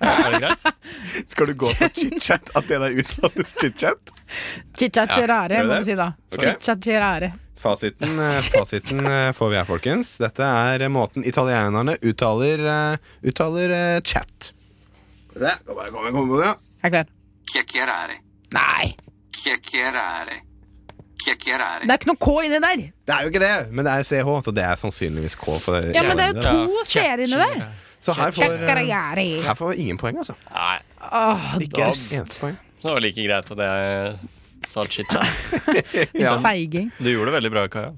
S7: Er det greit?
S3: Skal du gå
S5: <laughs>
S3: for chit-chat? At det der uttales chit-chat?
S5: Chicha,
S3: Ja,
S5: chiarare,
S3: gjør
S5: må
S3: det?
S5: du si da.
S3: Ok.
S5: Chicha, chiarare.
S3: Fasiten, eh, fasiten eh, får vi her, folkens. Dette er eh, måten italienerne uttaler, eh, uttaler eh, chat. Det, nå bare kommer- kommer det, ja.
S5: Jeg er klar.
S11: Chiacchierare.
S5: Nei,
S11: Chiacchierare. Chiacchierare.
S5: det er ikke noe K inni der.
S3: Det er jo ikke det, men det er CH, så det er sannsynligvis K. For
S5: Ja, men det er jo to
S3: Ja.
S5: C-er inni der.
S3: Så her får, eh,
S5: Chiacchierare.
S3: her får ingen poeng, altså.
S7: Nei.
S5: Åh,
S3: Ikke et eneste poeng.
S7: Det var like greit at jeg sa
S5: <laughs>
S7: chit-chat.
S3: Ja.
S5: feiging.
S7: Du gjorde det veldig bra, Kaja.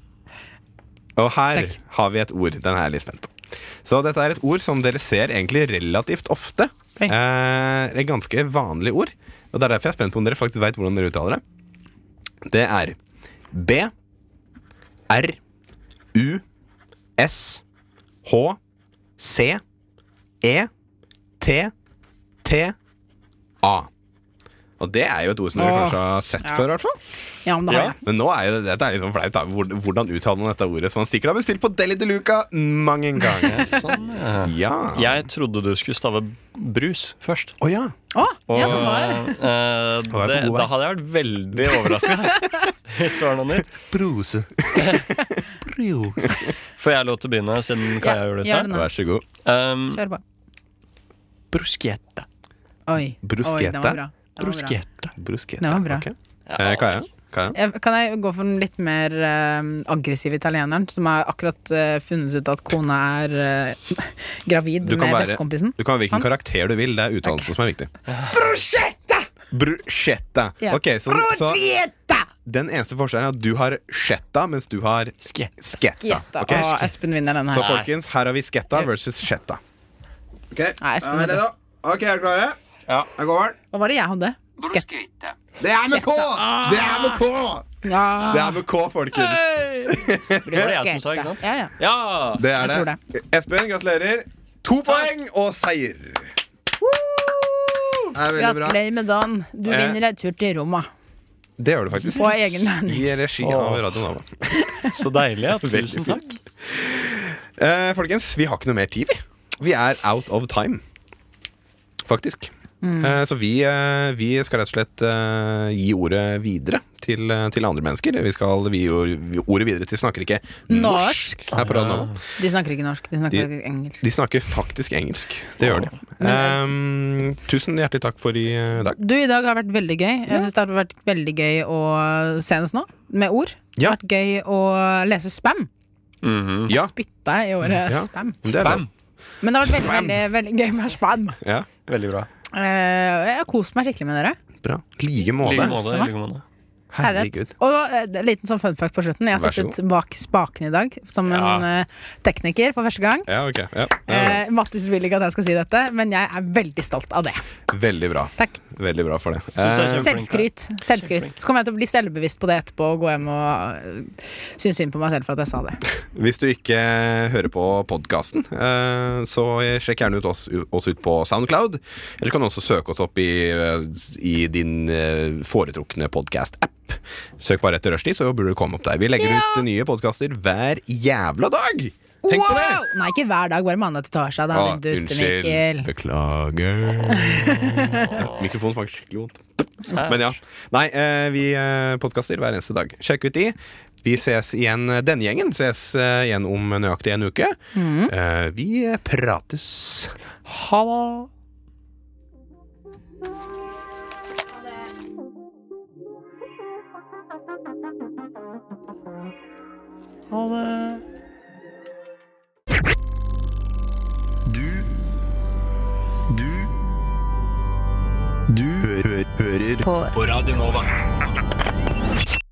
S3: Og her har vi et ord. Den er jeg litt spent på. Så dette er et ord som dere ser egentlig relativt ofte.
S5: Oi.
S3: Eh, et ganske vanlig ord. Og det er derfor jeg er spent på om dere faktisk veit hvordan dere uttaler det. Det er B R U S H C E T T A. Og det er jo et ord som dere
S5: Åh.
S3: kanskje har sett
S5: Ja.
S3: før, i hvert fall.
S5: Ja, men det har
S7: Ja.
S5: jeg.
S3: Men nå er jo det, dette er liksom flaut. da. Hvor- Hvordan uttaler man dette ordet? Så man sikkert har bestilt på Deli de Luca mange ganger.
S7: Sånn, ja.
S3: Ja. Å ja.
S7: Jeg trodde du skulle stave brus først.
S5: Å, ja, det var
S7: eh, det,
S3: god vei.
S7: da hadde jeg vært veldig overraska <laughs> hvis det var noe nytt.
S3: Bruse.
S7: Får jeg lov til å begynne, siden Kaja
S5: Ja,
S7: gjorde det i
S5: gjør
S7: stad?
S5: det nå.
S3: <laughs> Vær så god.
S7: Um,
S5: Kjør på.
S7: bruschetta.
S5: Oi. Oi, den
S3: Bruschetta.
S5: var bra. Den var bra.
S7: Bruschetta.
S3: Bruschetta.
S5: Det var bra.
S3: ok. Eh, Kaja, Hva er det?
S5: Jeg- Kan jeg gå for den litt mer eh, aggressive italieneren, som har akkurat eh, funnet ut at kona er eh, <laughs> gravid
S3: Du
S5: med
S3: kan være,
S5: bestekompisen?
S3: du kan være hvilken
S5: hans?
S3: karakter du vil. Det er uttalelsen som er viktig. Bruschetta!
S5: Ja.
S3: Ok, så, så den eneste forskjellen er at du har sjetta, mens du har sketta.
S5: Gjetta.
S3: Ok?
S5: Og Espen vinner den her.
S3: Så folkens, her har vi sketta versus sjetta. Ok,
S5: Nei, Espen vinner.
S3: Ok, er dere klare? Ja. Her går den.
S5: Hva var det jeg hadde? Skett.
S3: Det er med K!
S5: Sketta.
S3: Det er med K!
S5: Ja.
S3: Det er med K, folkens.
S7: Det var det jeg som sa, ikke sant?
S5: Ja, ja.
S7: Ja!
S3: Det er det. Espen, gratulerer. To poeng og seier. Det er veldig bra.
S5: Gratulerer med dagen. Du
S3: Eh.
S5: vinner en tur til Roma.
S3: Det gjør du faktisk.
S5: På egen hånd.
S3: I regi av
S7: Åh.
S3: Radio Nova.
S7: Så deilig. Ja.
S3: Veldig
S7: Tusen takk.
S3: Eh, folkens, vi har ikke noe mer tid, vi. Vi er out of time, faktisk. Eh, så vi, eh, vi skal rett og slett eh, gi ordet videre til, eh, til andre mennesker. Vi skal vi gir ordet videre til Snakker ikke norsk,
S5: Norsk.
S3: her på Radio Nova.
S5: De snakker ikke norsk, de snakker
S3: De-
S5: engelsk.
S3: De snakker faktisk engelsk. Det gjør de. Eh, tusen hjertelig takk for i eh, dag.
S5: Du, i dag har vært veldig gøy. Jeg synes det har vært veldig gøy å senest nå, med ord. Det
S3: Ja.
S5: har vært gøy å lese spam.
S7: Mhm.
S3: Ja.
S5: Spytta i året
S3: Ja.
S5: spam.
S3: Det er bra.
S5: Men det har vært veldig, veldig, veldig gøy med spam.
S3: Ja.
S7: Veldig bra.
S5: Eh, jeg har kost meg skikkelig med dere.
S3: Bra. Like måte.
S7: Like måte. Like måte.
S3: Herregud.
S5: Og eh, det er en liten sånn fun fact på slutten. Jeg
S3: Vær så
S5: sittet bak spaken i dag som
S3: Ja.
S5: en eh, tekniker for første gang.
S3: Ja, ok. Ja. Ja.
S5: Eh, Mattis vil ikke at jeg skal si dette, men jeg er veldig stolt av det.
S3: Veldig bra.
S5: Takk.
S3: Veldig bra for det.
S7: Synes jeg er
S3: Eh,
S5: Selvskryt. Selvskryt. Så kommer jeg til å bli selvbevisst på det etterpå og gå hjem og eh, synes synd på meg selv for at jeg sa det.
S3: Hvis du ikke hører på podkasten, eh, så sjekk gjerne ut oss, oss ut på Soundcloud. Eller kan du også søke oss opp i, eh, i din eh, foretrukne podkast-app. Søk bare etter Rushdie, så burde du komme opp der. Vi legger ut nye podkaster hver jævla dag! Tenk på det!
S5: Wow! Nei, ikke hver dag, bare mandag til torsdag. Da,
S3: Å,
S5: din duste Mikkel.
S7: <laughs>
S3: Beklager. Mikrofonen smaker skikkelig vondt. Men ja. Nei, eh, vi eh, podkaster hver eneste dag. Sjekk ut de. Vi ses igjen, Denne gjengen ses eh, igjen om nøyaktig en uke.
S5: Mm.
S3: Eh, Vi prates.
S7: Ha det. Ha det.
S9: Du Du Du hø hø hører
S1: På Radio Nova.